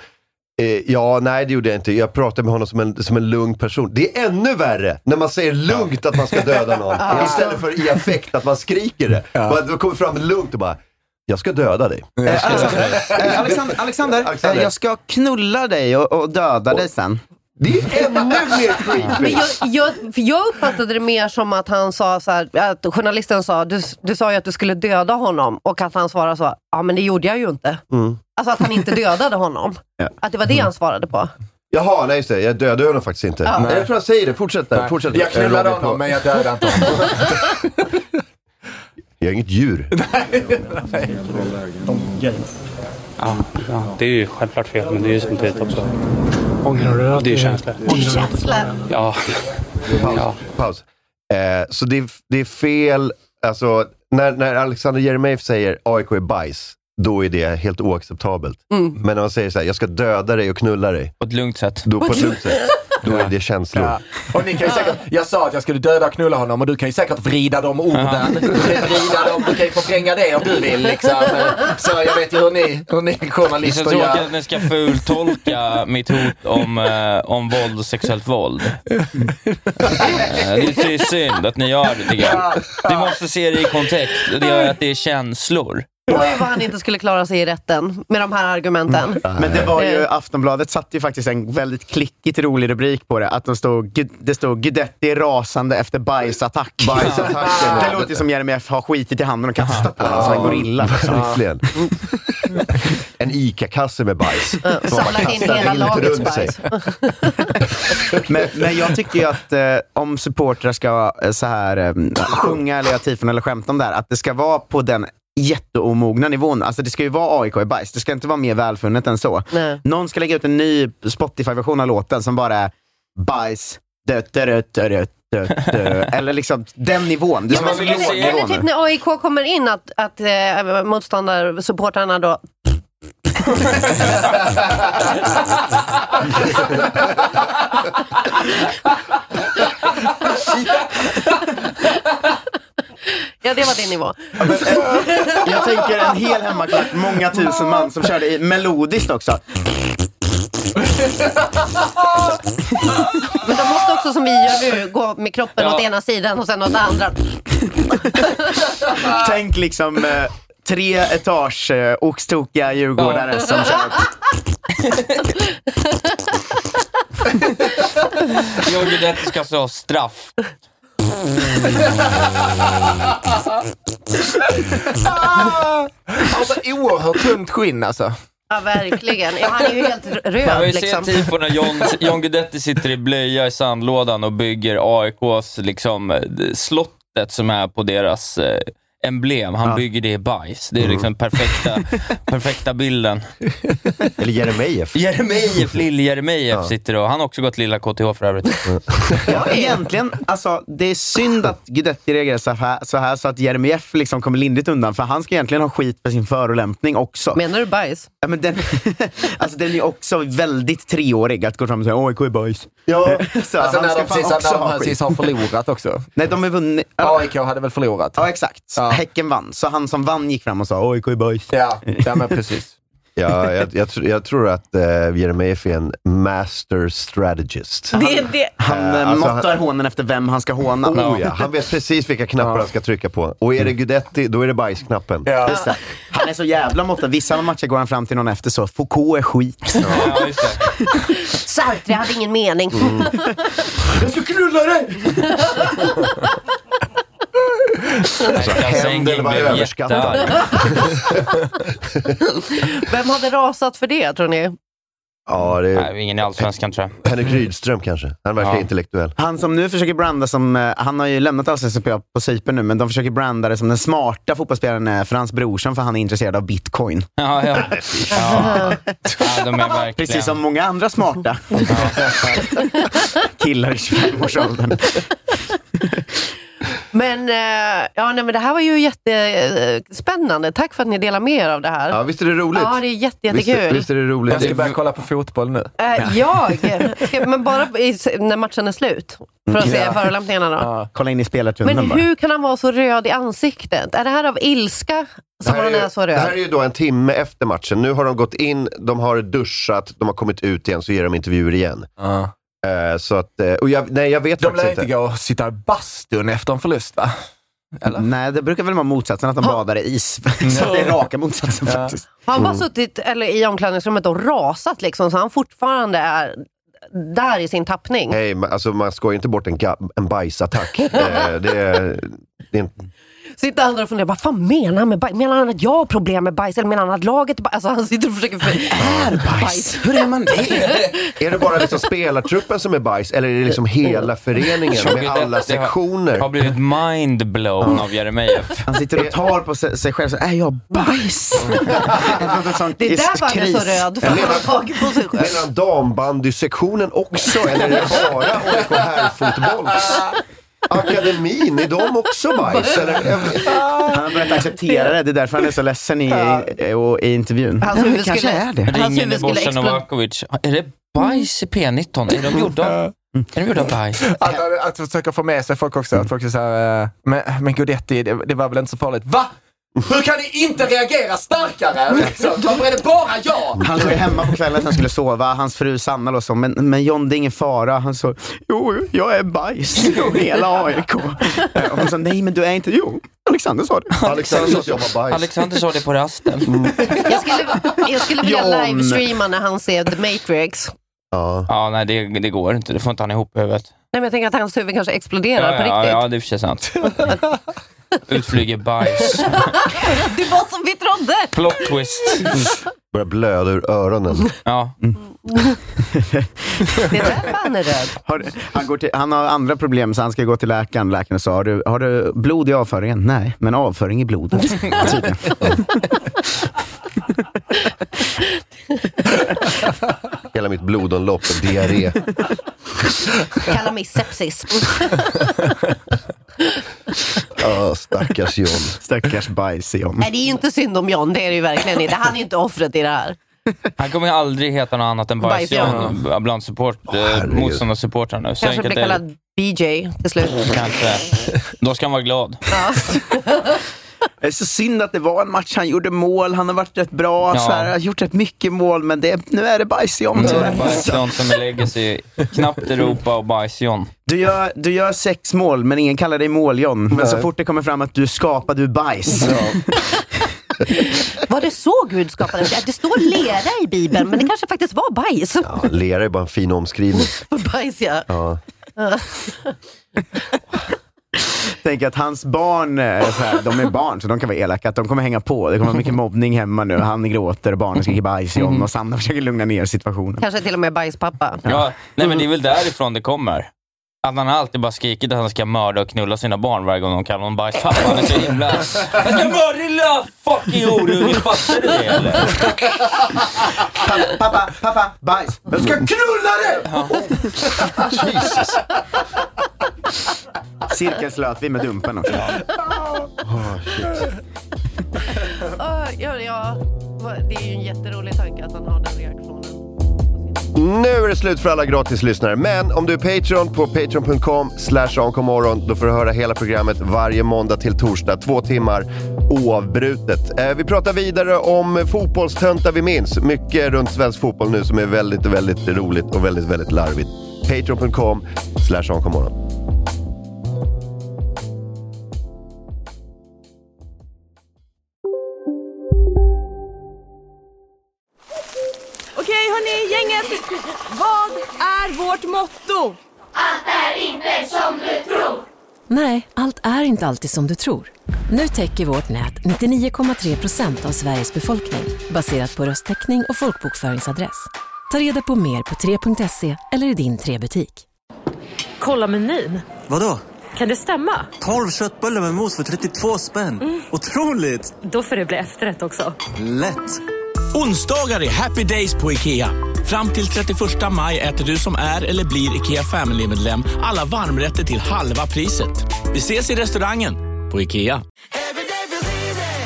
A: Eh, ja, nej det gjorde jag inte. Jag pratade med honom som en, som en lugn person. Det är ännu värre när man säger lugnt att man ska döda någon.
G: Ja.
A: Istället för i affekt att man skriker det. Bara, Då kommer fram lugnt och bara, jag ska döda dig.
D: Eh, Alexander, eh, Alexander, Alexander,
A: Alexander.
D: eh, jag ska knulla dig och, och döda dig sen.
A: Det är ännu mer creepy.
B: Men jag, jag, för jag uppfattade det mer som att han sa så här, att journalisten sa, du, du sa ju att du skulle döda honom och att han svarade så, ja men det gjorde jag ju inte. Alltså att han inte dödade honom.
A: Ja.
B: Att det var det han svarade på.
A: Jaha, nej just det. Jag dödade honom faktiskt inte.
B: Ja.
A: Nej. Jag tror jag säger det. Fortsätt där.
E: Nej.
A: Fortsätt.
E: Jag knullade
A: Robin, på-
E: honom, men jag dödade inte honom.
A: Jag är inget djur.
H: Ja, ja, det är ju självklart fel, men det är ju samtidigt också...
I: Ångerröd.
H: Det är ju känslor. Ja.
A: Paus.
H: Ja.
A: Paus. Eh, så det, är- det är fel, alltså när, när Alexander Jeremejeff säger AIK är bajs, då är det helt oacceptabelt. Men när man säger så här, jag ska döda dig och knulla dig.
C: På ett lugnt sätt.
A: Då, på ett lugnt sätt. Då är det känslor.
E: Ja. Och ni kan ju säkert, jag sa att jag skulle döda och knulla honom och du kan ju säkert vrida de orden. Du
C: Ja.
E: kan ju vrida dem, du kan ju förvränga det om du vill liksom. Så jag vet ju hur ni, hur ni
C: Det är så
E: journalister
C: tråkigt
E: gör.
C: att ni ska fultolka mitt hot om, eh, om våld och sexuellt våld. Eh, det är ju synd att ni gör det tycker jag. Du måste se det i kontext. Det gör att det är känslor.
B: Oj vad han inte skulle klara sig i rätten med de här argumenten.
D: Men det var ju,
B: Eh.
D: Aftonbladet satte ju faktiskt en väldigt klickigt rolig rubrik på det. Att de stod, Gu- det stod Guidetti rasande efter bajsattack.
A: Bajsattacken, ja.
D: det låter ju som Jeremy F har skitit i handen och kastat på honom som en gorilla.
A: Verkligen. En ICA-kasse med bajs. Som man
B: samlat in
A: kastar
B: hela
A: vilt
B: lagets
A: runt sig.
B: bajs.
D: Men, men jag tycker ju att eh, om supportrar ska eh, så här, eh, sjunga eller göra tifon eller skämta om det här, att det ska vara på den jätteomogna nivån. Alltså det ska ju vara AIK i bajs. Det ska inte vara mer välfunnet än så.
B: Nej.
D: Någon ska lägga ut en ny Spotify-version av låten som bara är bajs, dö, dö, dö, dö, dö, dö, dö. eller liksom den nivån. Det
B: Ja,
D: ska
B: men,
D: vara på låg
B: eller, eller
D: nivå
B: typ
D: nu.
B: när AIK kommer in att, att eh, motståndarsupportrarna då... ja, det var din nivå.
D: Jag tänker en hel hemmaklack, många tusen man som körde i melodiskt också.
B: Men de måste också som vi gör nu gå med kroppen
C: Ja.
B: åt ena sidan och sen åt andra.
D: Tänk liksom eh, tre etage eh, oxtokiga djurgårdare som kör
C: Jag och Guidetti ska alltså ha straff.
E: Alltså oerhört tunt skinn alltså.
B: Ja, verkligen. Ja, han är ju helt
C: Man
B: röd
C: vill se typ-
B: liksom.
C: tifo när John, John Guidetti sitter i blöja i sandlådan och bygger AIKs, liksom, eh, slottet som är på deras eh, emblem. Han bygger det i bajs. Det är liksom perfekta, perfekta bilden.
A: Eller Jeremejeff.
C: Jeremejeff, Lill-Jeremejeff sitter och, han har också gått lilla KTH för övrigt.
D: Ja, egentligen, alltså, det är synd att Guidetti reagerar så här, så här så att Jeremejeff liksom kommer lindrigt undan. För han ska egentligen ha skit för sin förolämpning också.
B: Menar du bajs?
D: ja, men den, alltså, den är ju också väldigt treårig, att gå fram och säga AIK är boys.
A: Ja.
E: Alltså
D: Så han
E: när
D: ska
E: de
D: fan
E: precis,
D: också
E: när de
D: ha
E: precis
D: skit.
E: har förlorat också.
D: Nej, de har vunnit. Ja,
E: AIK hade väl förlorat?
D: ja exakt.
E: Ja.
D: Häcken vann. Så han som vann gick fram och sa AIK är boys.
E: Ja, ja men precis.
A: Ja, jag, jag, tr- jag tror att eh, Jeremejeff är en master strategist.
B: Det är det.
D: Han
A: Eh,
D: eh,
A: alltså,
D: måttar hånen efter vem han ska håna.
A: Oh, ja. Han vet precis vilka knappar han ska trycka på. Och är det Guidetti, då är det bajsknappen.
D: Just det. Han är så jävla måttad. Vissa matcher går han fram till någon efter så, Foucault är skit.
C: Ja, just det.
B: Sartre hade ingen mening.
E: Jag ska knulla dig!
C: Kassängen
A: händer var
C: blev
A: överskattad.
C: jättearg.
B: Vem hade rasat för det tror ni?
A: Ja, det är
C: Nej, ingen i Allsvenskan tror jag.
A: Henrik Rydström kanske. Han verkar
C: Ja.
A: intellektuell.
D: Han som nu försöker branda som, eh, han har ju lämnat allsvenskan på- på Cypern nu, men de försöker branda det som den smarta fotbollsspelaren är för hans brorson, för han är intresserad av bitcoin.
C: Ja, ja. Ja. ja, de är verkligen...
D: Precis som många andra smarta killar i 25-årsåldern.
B: Men, eh, ja, nej, men det här var ju jättespännande. Tack för att ni delar med er av det här.
A: Ja, visst är det roligt?
B: Ja, det är jätte, jättekul.
A: Visst, visst är det roligt?
E: Jag ska börja kolla på fotboll nu.
B: Eh, jag? Ska- Men bara i, när matchen är slut? För att se
D: Ja.
B: förolämpningarna då?
D: Kolla in i spelet
B: Men
D: undan bara.
B: hur kan han vara så röd i ansiktet? Är det här av ilska som han är,
A: ju-
B: så
A: det här
B: röd?
A: är ju då en timme efter matchen. Nu har de gått in, de har duschat, de har kommit ut igen, så ger de intervjuer igen. Eh, så att, eh, och jag, nej, jag vet
E: De
A: faktiskt
E: lär
A: inte.
E: inte gå och sitta i bastun efter en förlust va?
A: Mm.
D: Nej, det brukar väl vara motsatsen, att de badar i is. Så det är raka motsatsen faktiskt.
B: Har han
A: Mm.
B: bara suttit eller, i omklädningsrummet och rasat liksom, så han fortfarande är där i sin tappning?
A: Nej, men alltså man skojar inte bort en, ga- en bajsattack. eh, det, är- det är inte-
B: Sitter andra och funderar, vad fan menar han med bajs? Menar han att jag har problem med bajs? Eller menar han att laget är bajs? Alltså han sitter och försöker... För...
D: Bajs, hur är man det?
A: är det bara liksom spelartruppen som är bajs, eller är det liksom hela föreningen med alla sektioner?
C: Har blivit mindblown av Jeremejeff.
D: Han sitter och tar på sig, sig själv så är jag bajs?
B: Det är därför han är så röd, för han har tagit på sig själv.
A: Menar dambandysektionen också, eller är det bara AIK herrfotboll? Akademin, är de också bajs? Eller, jag vet-
D: Han har börjat acceptera det, det är därför han är så ledsen i, i, och i intervjun.
B: Hans
D: Ja, men
B: huvud
D: det kanske
B: skulle-
D: är det.
B: Hans
C: Ringer
B: huvud skulle
C: Bosan
B: explo-
C: Novakovic. Är det bajs i P19? Är de gjorda av, är de gjorda av bajs?
E: Att, att försöka få med sig folk också. Att folk är så här, eh, men, men Guidetti, det, det var väl inte så farligt? Va? Hur kan ni inte reagera starkare? Liksom? Varför är det bara jag?
D: Han låg hemma på kvällen, han skulle sova. Hans fru Sanna låg så, men, men John det är ingen fara. Han sa, jo, jag är bajs. Jo, Hela AIK. Eh, Hon sa, nej men du är inte, jo, Alexander sa det.
A: Alexander jobbar bajs.
C: Alexander sa det på rasten.
B: Jag skulle, jag skulle vilja
D: John.
B: livestreama när han ser The Matrix.
A: Ja.
C: Ja, nej det, det går inte. Det får inte han ihop i huvudet.
B: Nej, men jag tänker att hans huvud kanske exploderar på
C: ja,
B: riktigt.
C: ja, det är i och för sig sant. Utflyger bajs.
B: Det var som vi trodde!
C: Plot twist.
A: Börjar blöda ur öronen.
C: Ja.
B: Det är därför han är röd.
D: Har, han, går till, han har andra problem, så han ska gå till läkaren. Läkaren sa, har du, har du blod i avföringen? Nej, men avföring i blodet. Tydligen.
A: Hela mitt blodomlopp och diarré.
B: Kalla mig sepsis.
A: Ja, stackars John.
D: Stackars bajs i om.
B: Nej, det är ju inte synd om John, det är det ju verkligen inte. Han är ju inte offret i det här.
C: Han kommer ju aldrig heta något annat än
B: Bajs, ja.
C: Bajsjan bland support, eh,
A: herregud.
C: motståndarsupportrar nu. Så
B: Kanske
C: enkelt
B: blir
C: är det.
B: kallad BJ till slut.
C: Kanske. Då ska han vara glad.
B: Ja.
D: Det är så synd att det var en match. Han gjorde mål, han har varit rätt bra,
C: Ja. Mm.
D: så här, har gjort rätt mycket mål, men det, nu är det bajs i om
C: Nu är
D: tyvärr.
C: det Bajsjan som är legacy. Knappt Europa och Bajsjan.
D: Du gör, du gör sex mål, men ingen kallar dig mål-John. Men så
A: Nej.
D: fort det kommer fram att du skapade ur bajs.
B: Var det så Gud skapade det? Det står lera i Bibeln, men det kanske faktiskt var bajs.
A: Ja, lera är bara en fin omskrivning.
B: Bajs, ja.
A: Ja.
D: Tänk att hans barn, eh, så här, de är barn så de kan vara elaka. Att de kommer hänga på. Det kommer vara mycket mobbning hemma nu. Han gråter, barnen skriker bajs i om och Sanna försöker lugna ner situationen.
B: Kanske till och med bajspappa.
C: Ja, nej men det är väl därifrån det kommer. Att han alltid bara skrikit att han ska mörda och knulla sina barn varje gång de kallar honom bajspappa. Han är så himla... Jag ska mörda din lilla fucking horunge, fattar du det eller?
D: Pappa, pappa, pappa, bajs. Jag ska knulla Oh. dig!
A: Jesus.
D: Cirkelslöt vi med Dumpen också.
B: Ja, ja, det är ju en jätterolig tanke att han har den reaktionen.
A: Nu är det slut för alla gratislyssnare, men om du är Patreon på patreon.com slash onkomorron, då får du höra hela programmet varje måndag till torsdag, två timmar oavbrutet. Eh, vi pratar vidare om fotbollstöntar vi minns. Mycket runt svensk fotboll nu som är väldigt, väldigt roligt och väldigt, väldigt larvigt. Patreon.com slash onkomorron.
K: Okej hörni, gänget! Vad är vårt motto?
L: Nej, allt är inte alltid som du tror. Nu täcker vårt nät 99,3 procent av Sveriges befolkning baserat på röstteckning och folkbokföringsadress. Ta reda på mer på 3.se eller i din 3-butik.
M: Kolla menyn.
N: Vadå?
M: Kan det stämma?
N: 12 köttbullar med mos för 32 spänn.
B: Mm.
N: Otroligt!
M: Då får det bli efterrätt också.
N: Lätt! Onsdagar är happy days på IKEA.
O: Fram till 31 maj äter du som är eller blir IKEA Family-medlem alla varmrätter till halva priset. Vi ses i restaurangen på IKEA.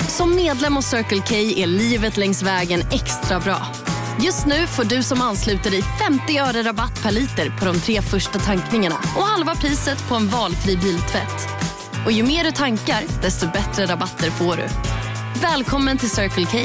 F: Som medlem hos Circle K är livet längs vägen extra bra. Just nu får du som ansluter dig 50 öre rabatt per liter på de tre första tankningarna och halva priset på en valfri biltvätt. Och ju mer du tankar, desto bättre rabatter får du. Välkommen till Circle K.